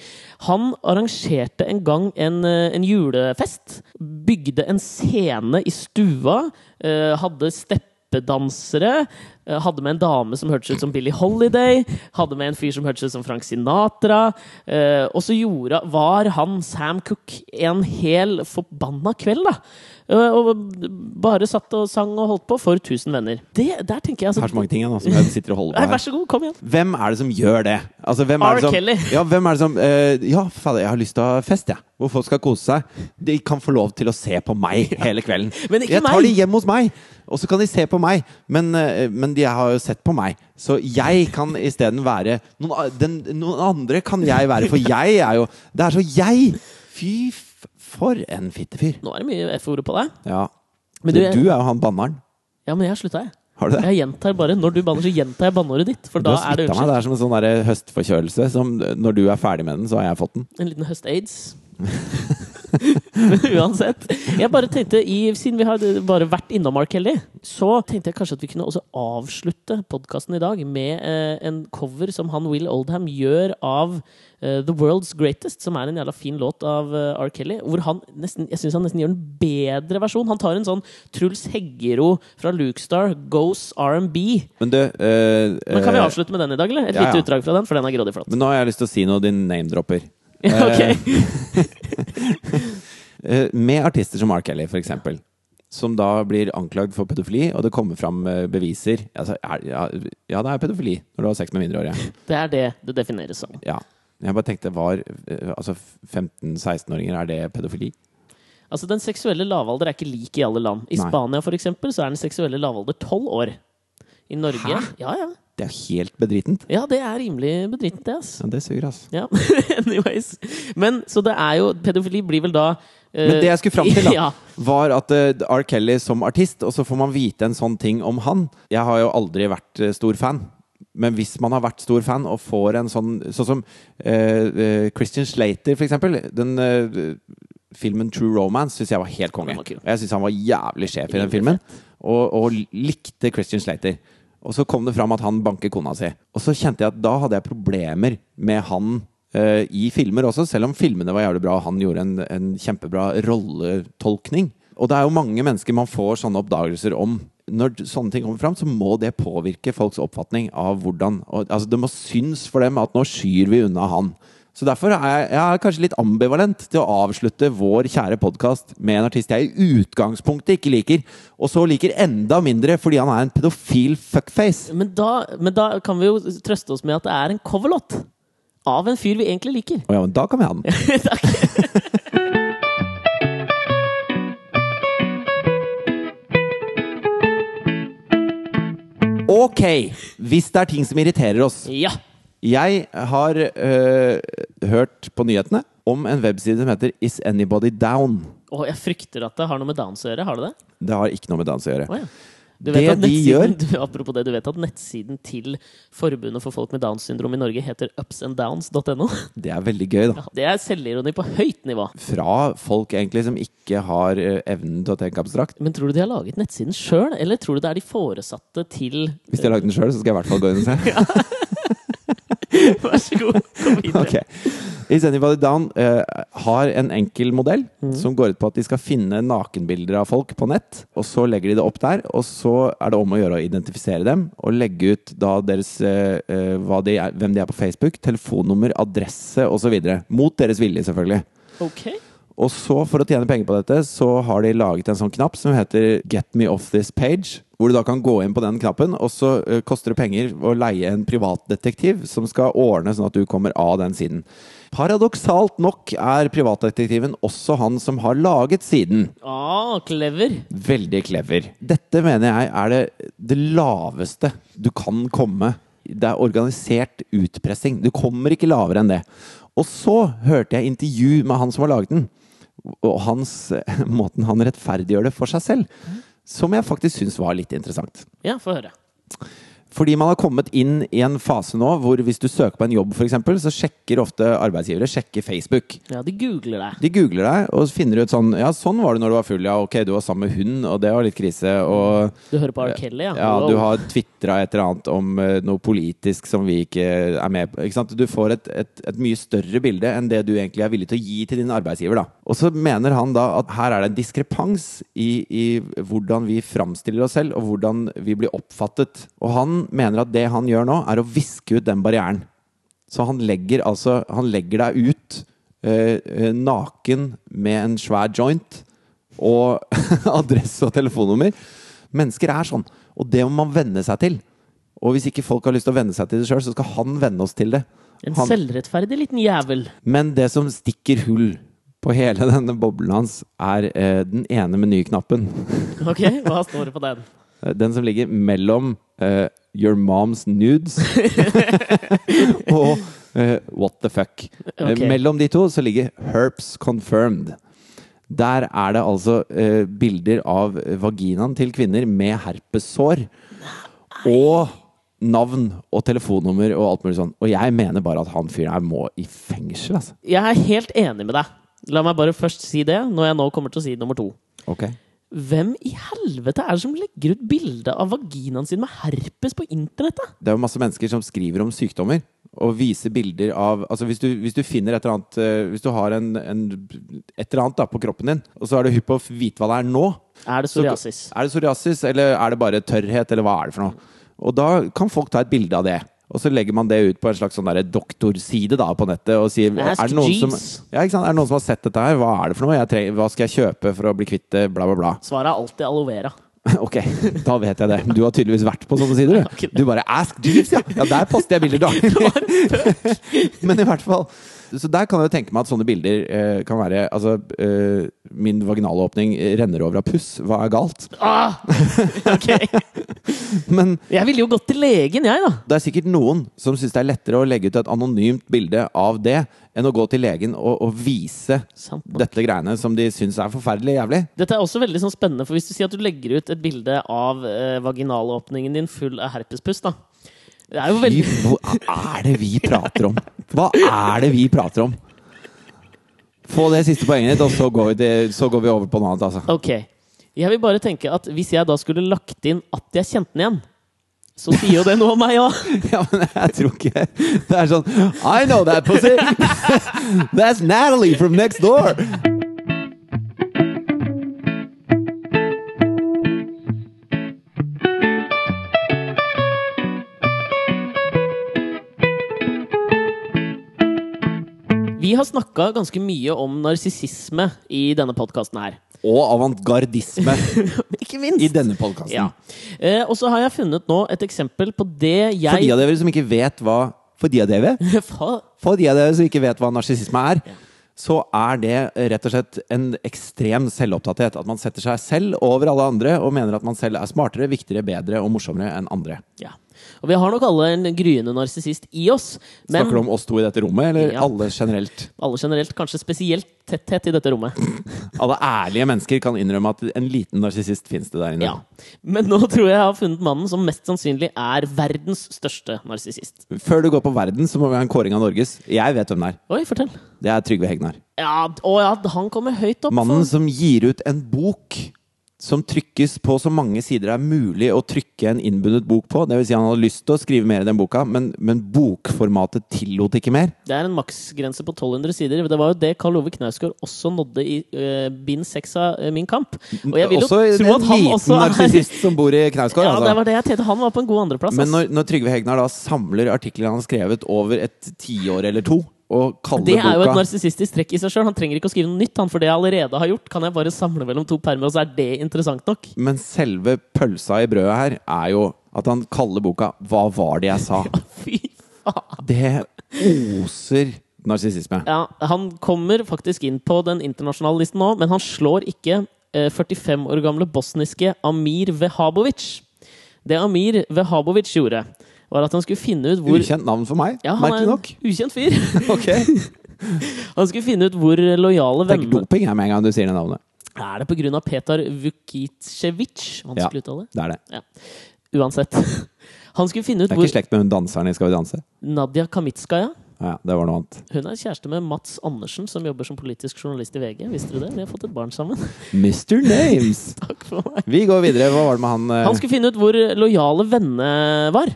Speaker 1: Han arrangerte en gang en, eh, en julefest. Bygde en scene i stua. eh, Hadde steppedansere. eh, Hadde med en dame som hørtes ut som Billie Holiday. Hadde med en fyr som hørtes ut som Frank Sinatra. eh, og så gjorde, var han Sam Cook en hel forbanna kveld, da. Eh, og bare satt og sang og holdt på for 1000 venner. Det, der tenker jeg
Speaker 2: Jeg
Speaker 1: altså,
Speaker 2: har så mange ting jeg nå som jeg sitter og holder
Speaker 1: Nei,
Speaker 2: på
Speaker 1: Vær
Speaker 2: her.
Speaker 1: så god, kom igjen.
Speaker 2: Hvem er det som gjør det? Altså, hvem er
Speaker 1: R.
Speaker 2: det som,
Speaker 1: Kelly.
Speaker 2: Ja, hvem er det som eh, Ja, fader, jeg har lyst til å ha fest, jeg. Hvor folk skal kose seg. De kan få lov til å se på meg hele kvelden.
Speaker 1: *laughs* Men ikke
Speaker 2: jeg tar
Speaker 1: meg.
Speaker 2: de hjem hos meg, og så kan de se på meg. Men, eh, men de har jo sett på meg. Så jeg kan isteden være noen, a- den, noen andre kan jeg være, for jeg er jo Det er så jeg! Fy f for en fittefyr.
Speaker 1: Nå er det mye F-ordet på deg.
Speaker 2: Ja.
Speaker 1: Men
Speaker 2: du,
Speaker 1: du, jeg-
Speaker 2: du er jo han banneren.
Speaker 1: Ja, men jeg har slutta, jeg.
Speaker 2: Har du det?
Speaker 1: Jeg gjentar bare, Når du banner, så gjentar jeg banneordet ditt. For
Speaker 2: Du
Speaker 1: da
Speaker 2: har
Speaker 1: er det
Speaker 2: smittet
Speaker 1: unnskyld.
Speaker 2: meg. Det er som en sånn der høstforkjølelse. Som når du er ferdig med den, så har jeg fått den.
Speaker 1: En liten høst-aids. Men *laughs* uansett. Jeg bare tenkte, i, Siden vi har bare vært innom Mark Kelly, så tenkte jeg kanskje at vi kunne også avslutte podkasten i dag med eh, en cover som han Will Oldham gjør av eh, The World's Greatest, som er en jævla fin låt av eh, R. Kelly. Hvor han nesten, jeg syns han nesten gjør en bedre versjon. Han tar en sånn Truls Heggero fra Lukestar, Goes R&B.
Speaker 2: Men du eh,
Speaker 1: Men kan vi
Speaker 2: eh,
Speaker 1: avslutte med den i dag, eller? Et
Speaker 2: ja, ja.
Speaker 1: lite utdrag fra den, for den er grådig flott.
Speaker 2: Men nå har jeg lyst til å si noe din name-dropper.
Speaker 1: *laughs* Ja, ok.
Speaker 2: Eh, *laughs* Med artister som R. Kelly, for eksempel, som da blir anklagd for pedofili, og det kommer fram eh, beviser altså, er, ja, ja, det er pedofili når du har sex med mindreårige.
Speaker 1: Det er det det defineres som.
Speaker 2: Ja. Jeg bare tenkte, var eh, altså 15-16-åringer, er det pedofili?
Speaker 1: Altså Den seksuelle lavalder er ikke lik i alle land. I
Speaker 2: Nei.
Speaker 1: Spania for eksempel, så er den seksuelle lavalder tolv år. I Norge
Speaker 2: Hæ?
Speaker 1: Ja, ja.
Speaker 2: Det er jo helt bedritent.
Speaker 1: ja, det er rimelig bedritent, det. ass.
Speaker 2: Ja, det suger, altså.
Speaker 1: Ja, *laughs* anyways. Men så det er jo Pedofili blir vel da eh,
Speaker 2: Men det jeg skulle fram til, da,
Speaker 1: *laughs* ja.
Speaker 2: var at eh, R. Kelly som artist, og så får man vite en sånn ting om han. Jeg har jo aldri vært eh, stor fan. Men hvis man har vært stor fan og får en sånn Sånn som eh, eh, Christian Slater, for eksempel. Den eh, filmen True Romance syns jeg var helt konge.
Speaker 1: Den var kul.
Speaker 2: Og jeg syns han var jævlig sjef i den
Speaker 1: Jævlig
Speaker 2: filmen. Og, og likte Christian Slater. Og så kom det fram at han banker kona si. Og så kjente jeg at da hadde jeg problemer med han eh, i filmer også, selv om filmene var jævlig bra og han gjorde en, en kjempebra rolletolkning. Og det er jo mange mennesker man får sånne oppdagelser om. Når d- sånne ting kommer fram, så må det påvirke folks oppfatning av hvordan og, Altså, det må synes for dem at nå skyr vi unna han. Så derfor er jeg, jeg er kanskje litt ambivalent til å avslutte vår kjære podkast med en artist jeg i utgangspunktet ikke liker, og så liker enda mindre fordi han er en pedofil fuckface.
Speaker 1: Men da, men da kan vi jo trøste oss med at det er en coverlåt av en fyr vi egentlig liker.
Speaker 2: Å ja, men da kan vi ha den.
Speaker 1: Takk.
Speaker 2: Ok! Hvis det er ting som irriterer oss.
Speaker 1: Ja.
Speaker 2: Jeg har øh, hørt på nyhetene om en webside som heter Is Anybody Down?
Speaker 1: Og jeg frykter at det har noe med Downs å gjøre. Har det det?
Speaker 2: Det har ikke noe med dans å gjøre.
Speaker 1: Å, ja. Du
Speaker 2: Det
Speaker 1: vet at
Speaker 2: de
Speaker 1: nettsiden- *laughs* du, apropos det, du vet at nettsiden til Forbundet for folk med Downs syndrom i Norge heter
Speaker 2: *laughs*
Speaker 1: upsanddowns.no?
Speaker 2: Det er veldig gøy, da.
Speaker 1: Det er selvironi på høyt nivå.
Speaker 2: Fra folk egentlig som ikke har øh, evnen til å tenke abstrakt.
Speaker 1: Men tror du de har laget nettsiden sjøl, eller tror du det er de foresatte til
Speaker 2: *laughs* Hvis de har lagd den sjøl, så skal jeg i hvert fall gå inn og se. *laughs*
Speaker 1: Vær så god, kom videre.
Speaker 2: Ok. Is Anybody Down eh, har en enkel modell som går ut på at de skal finne nakenbilder av folk på nett, og så legger de det opp der. Og så er det om å gjøre å identifisere dem og legge ut da deres, eh, eh, hva de er, hvem de er på Facebook, telefonnummer, adresse osv. Mot deres vilje, selvfølgelig.
Speaker 1: Ok.
Speaker 2: Og så, for å tjene penger på dette, så har de laget en sånn knapp som heter Get me off this page. Hvor du da kan gå inn på den knappen, og så eh, koster det penger å leie en privatdetektiv som skal ordne sånn at du kommer av den siden. Paradoksalt nok er privatdetektiven også han som har laget siden.
Speaker 1: Ah, clever.
Speaker 2: Veldig clever. Dette mener jeg er det, det laveste du kan komme. Det er organisert utpressing. Du kommer ikke lavere enn det. Og så hørte jeg intervju med han som har laget den, og hans, *laughs* måten han rettferdiggjør det for seg selv, som jeg faktisk syns var litt interessant.
Speaker 1: Ja, få høre.
Speaker 2: Fordi man har kommet inn i en fase nå hvor hvis du søker på en jobb, f.eks., så sjekker ofte arbeidsgivere sjekker Facebook.
Speaker 1: Ja, de googler deg.
Speaker 2: De googler deg og finner ut sånn Ja, sånn var det når du var full. Ja, ok, du var sammen med hund, og det var litt krise. Og
Speaker 1: Du hører på R. Kelly, ja.
Speaker 2: ja,
Speaker 1: Wow.
Speaker 2: du har tvitra et eller annet om eh, noe politisk som vi ikke er med på. Ikke sant? Du får et, et, et mye større bilde enn det du egentlig er villig til å gi til din arbeidsgiver. Da. Og så mener han da at her er det en diskrepans i, i hvordan vi framstiller oss selv, og hvordan vi blir oppfattet. Og han mener at det han gjør nå, er å viske ut den barrieren. Så han legger, altså, han legger deg ut eh, eh, naken med en svær joint og *laughs* adresse og telefonnummer. Mennesker er sånn, og det må man venne seg til. Og hvis ikke folk har lyst til å venne seg til det sjøl, så skal han venne oss til det.
Speaker 1: En
Speaker 2: Han-
Speaker 1: selvrettferdig liten jævel.
Speaker 2: men det som stikker hull på hele *laughs* denne boblen hans, er eh, den ene menyknappen.
Speaker 1: Ok, hva står det på den?
Speaker 2: Eh, Den som ligger mellom eh, Your Mom's Nudes og eh, What the Fuck. Eh,
Speaker 1: Ok.
Speaker 2: mellom de to så ligger Herps Confirmed. Der er det altså eh, bilder av vaginaen til kvinner med herpessår. Og navn og telefonnummer og alt mulig sånn. Og jeg mener bare at han fyren her må i fengsel, altså.
Speaker 1: Jeg er helt enig med deg. La meg bare først si det, når jeg nå kommer til å si nummer to.
Speaker 2: Ok.
Speaker 1: Hvem i helvete er det som legger ut bilde av vaginaen sin med herpes på internettet?
Speaker 2: det er jo masse mennesker som skriver om sykdommer og viser bilder av Altså hvis du, hvis du finner et eller annet eh, Hvis du har en, en, et eller annet da, på kroppen din, og så er du hypp på å vite hva det er nå
Speaker 1: Er det
Speaker 2: så-
Speaker 1: psoriasis?
Speaker 2: Er det psoriasis, eller er det bare tørrhet, eller hva er det for noe? Og da kan folk ta et bilde av det. Og så legger man det ut på en slags sånn derre doktorside da, på nettet og sier er
Speaker 1: Ask
Speaker 2: det, noen som,
Speaker 1: Jeeves.
Speaker 2: ja, ikke sant? er det noen som har sett dette her? Hva er det for noe? Jeg trenger, hva skal jeg kjøpe for å bli kvitt det? Bla, bla, bla.
Speaker 1: Svaret er alltid aloe vera.
Speaker 2: *laughs* Ok, da vet jeg det. Du har tydeligvis vært på sånne sider, du. Du bare 'ask Jeeves', ja! Ja, der poster jeg bilder daglig! *laughs* Men i hvert fall Så der kan jeg jo tenke meg at sånne bilder eh, kan være Altså, eh, min vaginalåpning renner over av puss. Hva er galt?
Speaker 1: Ah! *laughs* Ok.
Speaker 2: *laughs* Men
Speaker 1: Jeg ville jo gått til legen, jeg, da.
Speaker 2: det er sikkert noen som syns det er lettere å legge ut et anonymt bilde av det, enn å gå til legen og, og vise
Speaker 1: Sant nok.
Speaker 2: dette greiene som de syns er forferdelig jævlig.
Speaker 1: Dette er også veldig sånn spennende, for hvis du sier at du legger ut et bilde av eh, vaginalåpningen din full av herpespuss, da. Det er jo
Speaker 2: Fy,
Speaker 1: veldig
Speaker 2: hva er det vi prater om? Hva er det vi prater om? Få det siste poenget ditt, og så går vi, til, så går vi over på noe annet. Altså. *laughs*
Speaker 1: Ok. Jeg vil bare tenke at hvis jeg da skulle lagt inn at jeg kjente den igjen, så sier jo det noe om meg òg.
Speaker 2: Ja, men jeg tror ikke Det er sånn I know that pussy! *laughs* That's Natalie from next door!
Speaker 1: Vi har snakka ganske mye om narsissisme i denne podkasten her.
Speaker 2: Og avantgardisme
Speaker 1: *laughs* Ikke minst.
Speaker 2: i denne podkasten.
Speaker 1: Ja. Eh, og så har jeg funnet nå et eksempel på det jeg
Speaker 2: For de av dere som ikke vet hva For de av dere
Speaker 1: *laughs* Fa-
Speaker 2: For de av dere som ikke vet hva narsissisme er, så er det rett og slett en ekstrem selvopptatthet. At man setter seg selv over alle andre og mener at man selv er smartere, viktigere, bedre og morsommere enn andre.
Speaker 1: ja. Og vi har nok alle en gryende narsissist i oss. Men
Speaker 2: Snakker du om oss to i dette rommet, eller
Speaker 1: Ja.
Speaker 2: alle generelt?
Speaker 1: alle generelt kanskje spesielt tetthet i dette rommet.
Speaker 2: Alle ærlige mennesker kan innrømme at en liten narsissist fins det der inne.
Speaker 1: Ja. Men nå tror jeg jeg har funnet mannen som mest sannsynlig er verdens største narsissist.
Speaker 2: Før du går på verden, så må vi ha en kåring av Norges. Jeg vet hvem det er.
Speaker 1: Oi, fortell.
Speaker 2: Det er Trygve Hegnar.
Speaker 1: Ja, å ja, han kommer høyt opp.
Speaker 2: Mannen som gir ut en bok som trykkes på så mange sider det er mulig å trykke en innbundet bok på. Det vil si han hadde lyst til å skrive mer i den boka, men, men bokformatet tillot ikke mer.
Speaker 1: Det er en maksgrense på 1200 sider. Det var jo det Karl Ove Knausgård også nådde i eh, bind seks av eh, Min kamp. Og jeg vil jo
Speaker 2: Mm, Også en
Speaker 1: tro at han
Speaker 2: liten
Speaker 1: også *laughs* er
Speaker 2: narsissist som bor i Knausgård.
Speaker 1: Ja, det
Speaker 2: altså.
Speaker 1: var det jeg tenkte. Han var på en god andreplass. altså.
Speaker 2: Men
Speaker 1: ass.
Speaker 2: når, når Trygve Hegnar da samler artikler han har skrevet over et tiår eller to, og kaller
Speaker 1: Det er jo et
Speaker 2: boka
Speaker 1: narsissistisk trekk i seg sjøl. Han trenger ikke å skrive noe nytt, han, for det jeg allerede har gjort, kan jeg bare samle mellom to permer, og så er det interessant nok.
Speaker 2: Men selve pølsa i brødet her er jo at han kaller boka 'Hva var det jeg sa?'
Speaker 1: *laughs* Fy faen.
Speaker 2: Det oser narsissisme.
Speaker 1: Ja, han kommer faktisk inn på den internasjonale listen nå, men han slår ikke eh, 45 år gamle bosniske Amir Vehabovic. Det Amir Vehabovic gjorde, var at han skulle finne ut hvor
Speaker 2: Ukjent navn for meg,
Speaker 1: ja, han er
Speaker 2: merkelig
Speaker 1: en *laughs*
Speaker 2: nok. *laughs*
Speaker 1: ukjent fyr.
Speaker 2: Ok
Speaker 1: Han skulle finne ut hvor lojale
Speaker 2: Tenker
Speaker 1: venner
Speaker 2: doping jeg med en gang du sier det navnet.
Speaker 1: Er det på grunn av Petar Vukicevic? Vanskelig å uttale.
Speaker 2: Det er det.
Speaker 1: Ja. Uansett. *laughs* Han skulle finne ut
Speaker 2: Det er
Speaker 1: hvor
Speaker 2: ikke slekt med hun danseren i Skal vi danse.
Speaker 1: Nadia Kamitskaja
Speaker 2: Ja, ja, det var noe annet.
Speaker 1: Hun er kjæreste med Mats Andersen, som jobber som politisk journalist i VG. Visste du det? De har fått et barn sammen. *laughs*
Speaker 2: Mr. Names!
Speaker 1: Takk for meg.
Speaker 2: Vi går videre. Hva var det med han eh,
Speaker 1: Han skulle finne ut hvor lojale vennene var.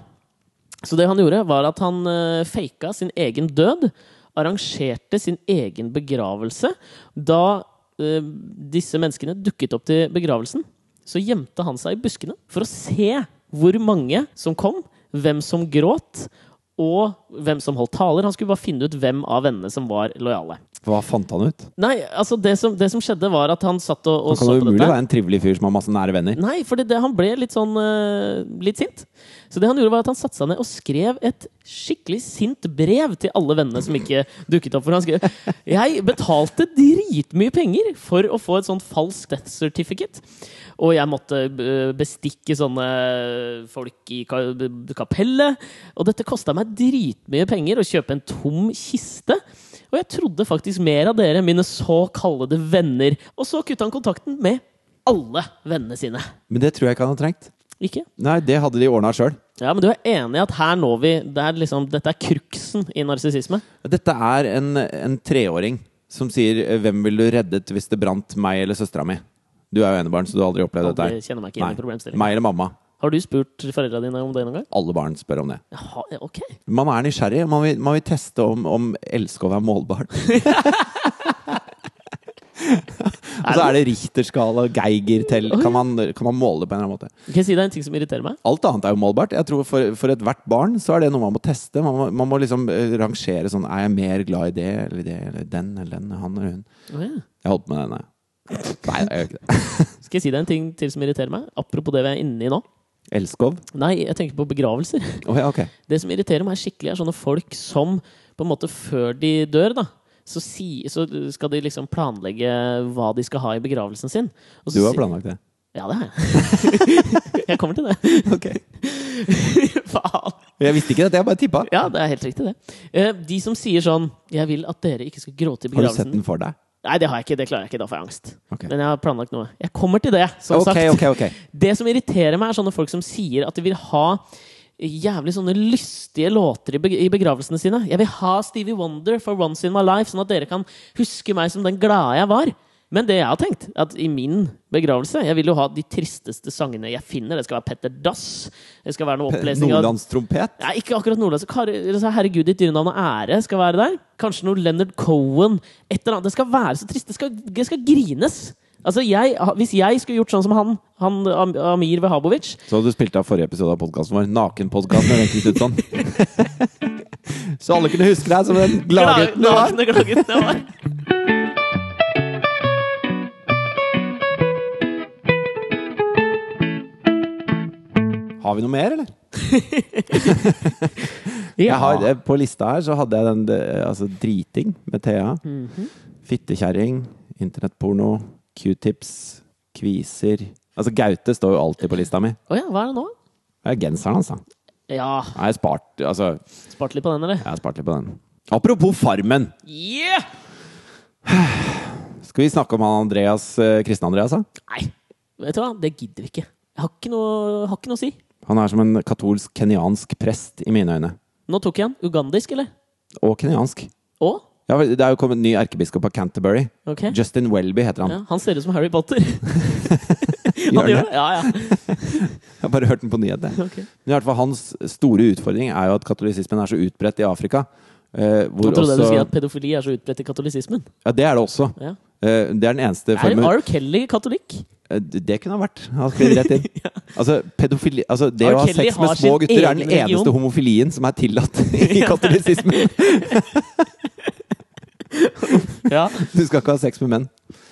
Speaker 1: Så det han gjorde, var at han eh, faka sin egen død. Arrangerte sin egen begravelse. Da eh, disse menneskene dukket opp til begravelsen, så gjemte han seg i buskene for å se hvor mange som kom, hvem som gråt, og hvem som holdt taler. Han skulle bare finne ut hvem av vennene som var lojale.
Speaker 2: Hva fant han ut?
Speaker 1: Nei, altså det som, det som skjedde, var at han satt og, og
Speaker 2: Han kan
Speaker 1: så på
Speaker 2: jo umulig
Speaker 1: dette.
Speaker 2: være en trivelig fyr som har masse nære venner.
Speaker 1: Nei, for det, han ble litt sånn eh, litt sint. Så det han gjorde var at han satte seg ned og skrev et skikkelig sint brev til alle vennene som ikke *laughs* dukket opp. For han skrev Jeg betalte dritmye penger for å få et sånt falskt death certificate. Og jeg måtte eh, bestikke sånne folk i ka kapellet. Og dette kosta meg dritmye penger å kjøpe en tom kiste. Og jeg trodde faktisk mer av dere, mine såkalte venner. Og så kutta han kontakten med alle vennene sine.
Speaker 2: Men det tror jeg ikke han har trengt.
Speaker 1: Ikke?
Speaker 2: Nei, det hadde de ordna sjøl.
Speaker 1: Ja, men du er enig i at her når vi det er liksom, Dette er kruksen i narsissisme?
Speaker 2: Dette er en, en treåring som sier eh, 'Hvem ville du reddet hvis det brant meg eller søstera mi?' Du er jo enebarn, så du har aldri opplevd dette.
Speaker 1: Aldri kjenner meg ikke inn i problemstillingen.
Speaker 2: Meg eller mamma.
Speaker 1: Har du spurt foreldra dine om det noen gang?
Speaker 2: Alle barn spør om det.
Speaker 1: Jaha, ja, ok.
Speaker 2: Man er nysgjerrig. Man vil, man vil teste om, om elske å være *laughs* målbar. og så er det Richterskala, Geiger til kan man, kan man måle det på en eller annen måte?
Speaker 1: Kan jeg si deg en ting som irriterer meg?
Speaker 2: Alt annet er jo målbart. Jeg tror For, for ethvert barn så er det noe man må teste. Man må, man må liksom eh, rangere sånn Er jeg mer glad i det eller det eller den eller den? Han eller hun?
Speaker 1: Å, ja.
Speaker 2: Jeg holdt på med denne. Nei, jeg gjør ikke det.
Speaker 1: Skal jeg si deg en ting til som irriterer meg? Apropos det vi er inne i nå.
Speaker 2: Elskov?
Speaker 1: Nei, jeg tenker på begravelser.
Speaker 2: Å ja, ok.
Speaker 1: Det som irriterer meg skikkelig, er sånne folk som på en måte før de dør, da så, si, så skal de liksom planlegge hva de skal ha i begravelsen sin. Og så
Speaker 2: Du har
Speaker 1: si-
Speaker 2: planlagt det.
Speaker 1: Ja, det har jeg. *laughs* jeg kommer
Speaker 2: *laughs*
Speaker 1: til det.
Speaker 2: Ok.
Speaker 1: Faen.
Speaker 2: Jeg visste ikke dette, jeg bare tippa.
Speaker 1: Ja, det er helt riktig, det. Eh, De som sier sånn 'Jeg vil at dere ikke skal gråte i
Speaker 2: Har du sett
Speaker 1: begravelsen
Speaker 2: den for deg?
Speaker 1: Nei, det har jeg ikke. Det klarer jeg ikke. Da får jeg angst.
Speaker 2: Ok.
Speaker 1: Men jeg har planlagt noe. Jeg kommer til det, som
Speaker 2: Ok,
Speaker 1: sagt.
Speaker 2: ok, ok.
Speaker 1: Det som irriterer meg, er sånne folk som sier at de vil ha jævlig sånne lystige låter i, beg i begravelsene sine. Jeg vil ha Stevie Wonder for Once In My Life, sånn at dere kan huske meg som den glade jeg var. Men det jeg har tenkt, at i min begravelse Jeg vil jo ha de tristeste sangene jeg finner. Det skal være Petter Dass. Det skal være
Speaker 2: *laughs*
Speaker 1: noe opplesning av
Speaker 2: Nordlandstrompet.
Speaker 1: Nei, ikke akkurat Nordlands. Kar- eller så Herregud, ditt dyrenavn og ære skal være der. Kanskje noe Leonard Cohen. Et eller annet. Det skal være så trist. Det skal, det skal grines. Altså, jeg, Hvis jeg skulle gjort sånn som han, han Am- Amir Vehabovic
Speaker 2: Så du spilte av forrige episode av podkasten vår, Nakenpodkasten, med Wenche Knutson. Så alle kunne huske deg som den gladgutten du var.
Speaker 1: Glagete, glagete var.
Speaker 2: Har vi noe mer, eller?
Speaker 1: Ja.
Speaker 2: *laughs* Jeg har, eh, på lista her så hadde jeg den eh, altså, driting med Thea. Fittekjerring, internettporno, q-tips, kviser Altså Gaute står jo alltid på lista mi.
Speaker 1: Å ja, hva er det nå?
Speaker 2: Det er genseren hans, da.
Speaker 1: Ja,
Speaker 2: Jeg har spart, altså,
Speaker 1: spart litt på den, eller?
Speaker 2: jeg har spart litt på den. Apropos Farmen!
Speaker 1: Yeah!
Speaker 2: Skal vi snakke om han Andreas, eh, kristne Andreas? da?
Speaker 1: Nei, vet du hva? Det gidder vi ikke. Jeg har ikke noe, har ikke noe å si.
Speaker 2: Han er som en katolsk kenyansk prest i mine øyne.
Speaker 1: Nå tok jeg den. Ugandisk, eller?
Speaker 2: Og kenyansk.
Speaker 1: Å?
Speaker 2: Ja, vel, det er jo kommet en ny erkebiskop av Canterbury.
Speaker 1: Ok.
Speaker 2: Justin Welby heter han.
Speaker 1: Ja, han ser ut som Harry
Speaker 2: *laughs*
Speaker 1: Potter. *laughs* han
Speaker 2: han
Speaker 1: gjør
Speaker 2: det?
Speaker 1: det? Ja, ja. *laughs*
Speaker 2: Jeg har bare hørt den på nyhetene.
Speaker 1: Ok.
Speaker 2: Men i hvert fall Hans store utfordring er jo at katolisismen er så utbredt i Afrika. eh, hvor
Speaker 1: Jeg trodde
Speaker 2: også,
Speaker 1: du skulle si at pedofili er så utbredt i katolisismen.
Speaker 2: Ja, det er det også.
Speaker 1: Ja.
Speaker 2: Eh, det er den eneste
Speaker 1: Er
Speaker 2: formen
Speaker 1: R. Kelly katolikk?
Speaker 2: Eh, Det kunne ha vært. Han skrev rett
Speaker 1: *laughs*
Speaker 2: inn. Altså, pedofili Altså, det
Speaker 1: R.
Speaker 2: å ha
Speaker 1: Kelly
Speaker 2: sex med
Speaker 1: har
Speaker 2: små
Speaker 1: sin
Speaker 2: gutter er den
Speaker 1: egen religion.
Speaker 2: eneste homofilien som er
Speaker 1: *laughs*
Speaker 2: tillatt i katolisismen.
Speaker 1: *laughs* Ja.
Speaker 2: Du skal ikke ha sex med menn.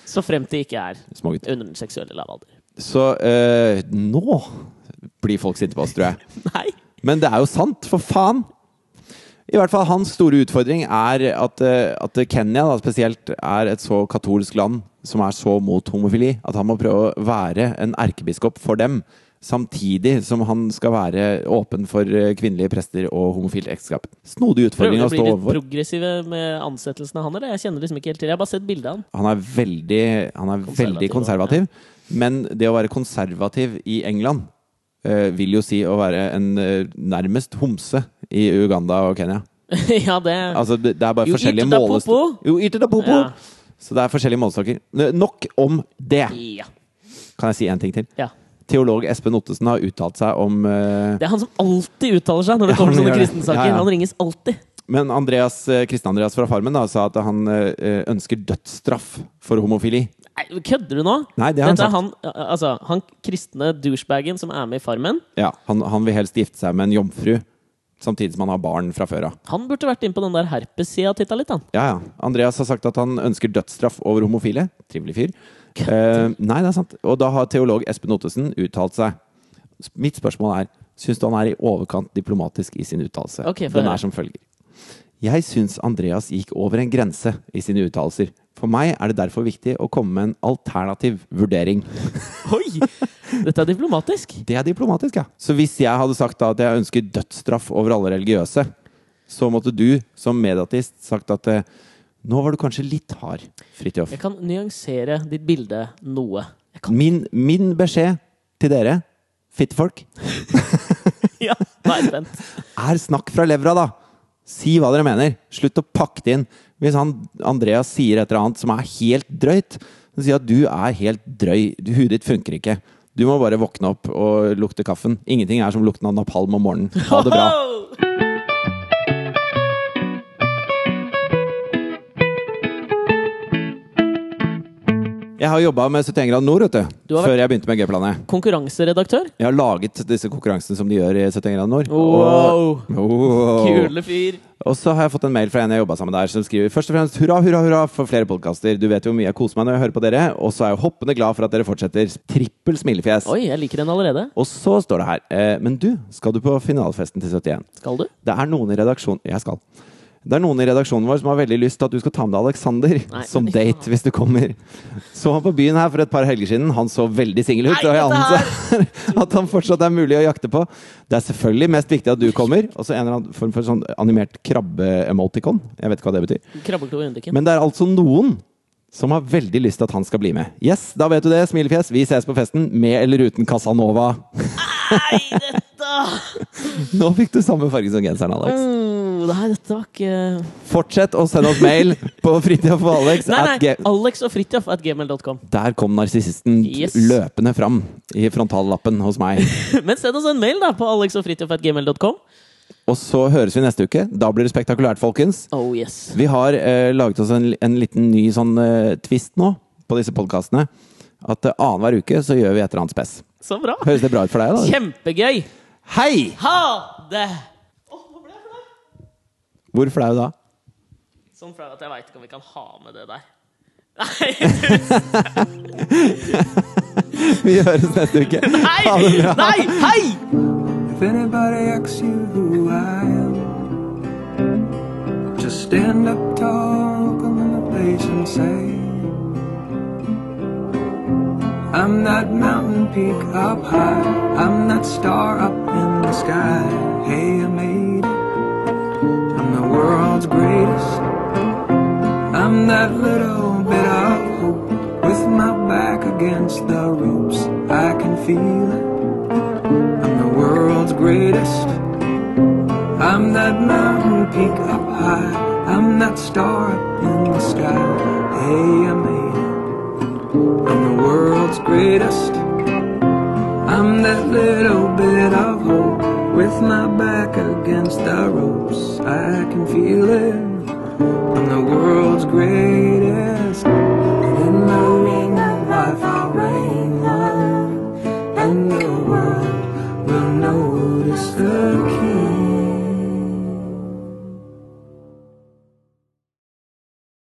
Speaker 1: Så frem til ikke er
Speaker 2: Små gutter.
Speaker 1: under den seksuelle lav alder.
Speaker 2: Så eh, nå blir folk sinte på oss, tror jeg.
Speaker 1: *laughs* Nei.
Speaker 2: Men det er jo sant, for faen! I hvert fall hans store utfordring er at, eh, at Kenya da, spesielt er et så katolsk land som er så mot homofili, at han må prøve å være en erkebiskop for dem. Samtidig som han skal være åpen for eh, kvinnelige prester og homofilt ekteskap. Snodig
Speaker 1: Prøver du å
Speaker 2: utfordring å
Speaker 1: bli
Speaker 2: stå
Speaker 1: litt
Speaker 2: overfor.
Speaker 1: progressive med ansettelsen av han, eller? Jeg kjenner liksom ikke helt til. Jeg har bare sett bildet av han. *laughs*
Speaker 2: Han er veldig, han er
Speaker 1: Konservativ,
Speaker 2: veldig konservativ. Men det å være konservativ i England eh, vil jo si å være en eh, nærmest homse i Uganda og Kenya.
Speaker 1: ja, det
Speaker 2: Altså, det, det er bare
Speaker 1: You
Speaker 2: forskjellige
Speaker 1: eat it up,
Speaker 2: målestokker.
Speaker 1: popo.
Speaker 2: Jo, eat it up, popo.
Speaker 1: Ja.
Speaker 2: Så det er forskjellige målestokker. N- Nok om det!
Speaker 1: Ja.
Speaker 2: Kan jeg si én ting til?
Speaker 1: ja.
Speaker 2: Teolog Espen Ottesen har uttalt seg om eh,
Speaker 1: Det er han som alltid uttaler seg når det
Speaker 2: Ja,
Speaker 1: kommer
Speaker 2: han
Speaker 1: til sånne
Speaker 2: gjør det.
Speaker 1: kristensaker.
Speaker 2: Ja, ja.
Speaker 1: Han ringes alltid.
Speaker 2: Men Andreas, eh, Kristen Andreas fra Farmen da, sa at han eh, ønsker dødsstraff for homofili.
Speaker 1: Nei, kødder du nå?
Speaker 2: Nei, det har han
Speaker 1: Dette
Speaker 2: sagt.
Speaker 1: er han, altså, han kristne douchebagen som er med i Farmen.
Speaker 2: Ja, han, han vil helst gifte seg med en jomfru, samtidig som han har barn fra før av.
Speaker 1: Han burde vært inne på den der herpes-sida og titta litt, han.
Speaker 2: Ja, ja. Andreas har sagt at han ønsker dødsstraff over homofile. Trivelig fyr. Eh, nei, det er sant. Og da har teolog Espen Ottesen uttalt seg. S- Mitt spørsmål er Syns du han er i overkant diplomatisk i sin uttalelse?
Speaker 1: Ok, få
Speaker 2: Den
Speaker 1: høre.
Speaker 2: er som følger. Jeg syns Andreas gikk over en grense i sine uttalelser. For meg er det derfor viktig å komme med en alternativ vurdering.
Speaker 1: Oi! Dette er diplomatisk.
Speaker 2: Det er diplomatisk, ja. Så hvis jeg hadde sagt da at jeg ønsker dødsstraff over alle religiøse, så måtte du som mediatist sagt at eh, nå var du kanskje litt hard, Fridtjof.
Speaker 1: Jeg kan nyansere ditt bilde noe. Jeg kan,
Speaker 2: Min, min beskjed til dere, fittefolk,
Speaker 1: *laughs* ja, nå er jeg spent.
Speaker 2: er snakk fra levra, da! Si hva dere mener. Slutt å pakke det inn. Hvis han, Andreas sier et eller annet som er helt drøyt, så sier at du er helt drøy. Du- Huet ditt funker ikke. Du må bare våkne opp og lukte kaffen. Ingenting er som lukten av napalm om morgenen. Ha det
Speaker 1: *laughs*
Speaker 2: bra. Jeg har jobba med 71 grader nord vet du,
Speaker 1: Du har vært-
Speaker 2: før jeg begynte med G-planet.
Speaker 1: Konkurranseredaktør.
Speaker 2: Jeg har laget disse konkurransene som de gjør i 71 grader nord.
Speaker 1: Wow!
Speaker 2: Og, Wow.
Speaker 1: Kule fyr.
Speaker 2: og så har jeg fått en mail fra en jeg jobba sammen der, som skriver først og fremst hurra, hurra, hurra for flere podkaster. Du vet jo hvor mye jeg koser meg når jeg hører på dere, og så er jeg hoppende glad for at dere fortsetter. Trippel smilefjes.
Speaker 1: Oi, jeg liker den allerede.
Speaker 2: Og så står det her eh, Men du, skal du på finalefesten til 71?
Speaker 1: Skal du?
Speaker 2: Det er noen i redaksjonen Jeg skal. Det er noen i redaksjonen vår som har veldig lyst til at du skal ta med deg Alexander
Speaker 1: Nei.
Speaker 2: som date hvis du kommer. Så han på byen her for et par helger siden. Han så veldig singel ut,
Speaker 1: Nei,
Speaker 2: og jeg
Speaker 1: dette her-
Speaker 2: anser *laughs* at han fortsatt er mulig å jakte på. Det er selvfølgelig mest viktig at du kommer. Og så en eller annen form for sånn animert krabbe-emoticon. Jeg vet ikke hva det betyr.
Speaker 1: Krabbeklo i underken.
Speaker 2: Men det er altså noen som har veldig lyst til at han skal bli med. Yes, da vet du det. Smilefjes, vi ses på festen med eller uten Casanova.
Speaker 1: Nei, dette
Speaker 2: Nå fikk du samme farge som genseren, Alex.
Speaker 1: Mm, Nei, dette var ikke
Speaker 2: Fortsett å sende oss mail på fritida for Alex.
Speaker 1: Nei,
Speaker 2: at
Speaker 1: nei.
Speaker 2: ge-
Speaker 1: Alex og Fridtjof at gmail.com.
Speaker 2: Der kom narsissisten
Speaker 1: Yes.
Speaker 2: løpende fram i frontallappen hos meg.
Speaker 1: *laughs* Men send oss en mail da på alex og Fridtjof at gmail.com.
Speaker 2: Og så høres vi neste uke. Da blir det spektakulært, folkens.
Speaker 1: Oh yes.
Speaker 2: Vi har eh, laget oss en, en liten ny sånn eh, twist nå på disse podkastene. At eh, annenhver uke så gjør vi et eller annet spes.
Speaker 1: Så bra.
Speaker 2: Høres det bra ut for deg, da?
Speaker 1: Kjempegøy.
Speaker 2: Hei!
Speaker 1: Ha det! Åh, nå ble jeg flau.
Speaker 2: Hvor flau da?
Speaker 1: Sånn flau at jeg veit ikke om vi kan ha med det der. *laughs* Nei,
Speaker 2: Vi høres neste uke. *laughs* Ha det
Speaker 1: nei,
Speaker 2: bra.
Speaker 1: nei, hei!
Speaker 3: If anybody asks you who I am, just stand up tall, come in the place and say, I'm not mountain peak up high, I'm not star up in the sky. Hey, I made it. I'm the world's greatest. I'm that little bit of hope with my back against the ropes. I can feel it. I'm the world's greatest. I'm that mountain peak up high. I'm that star up in the sky. Hey, I made it. I'm the world's greatest. I'm that little bit of hope. With my back against the ropes, I can feel it. I'm the world's greatest.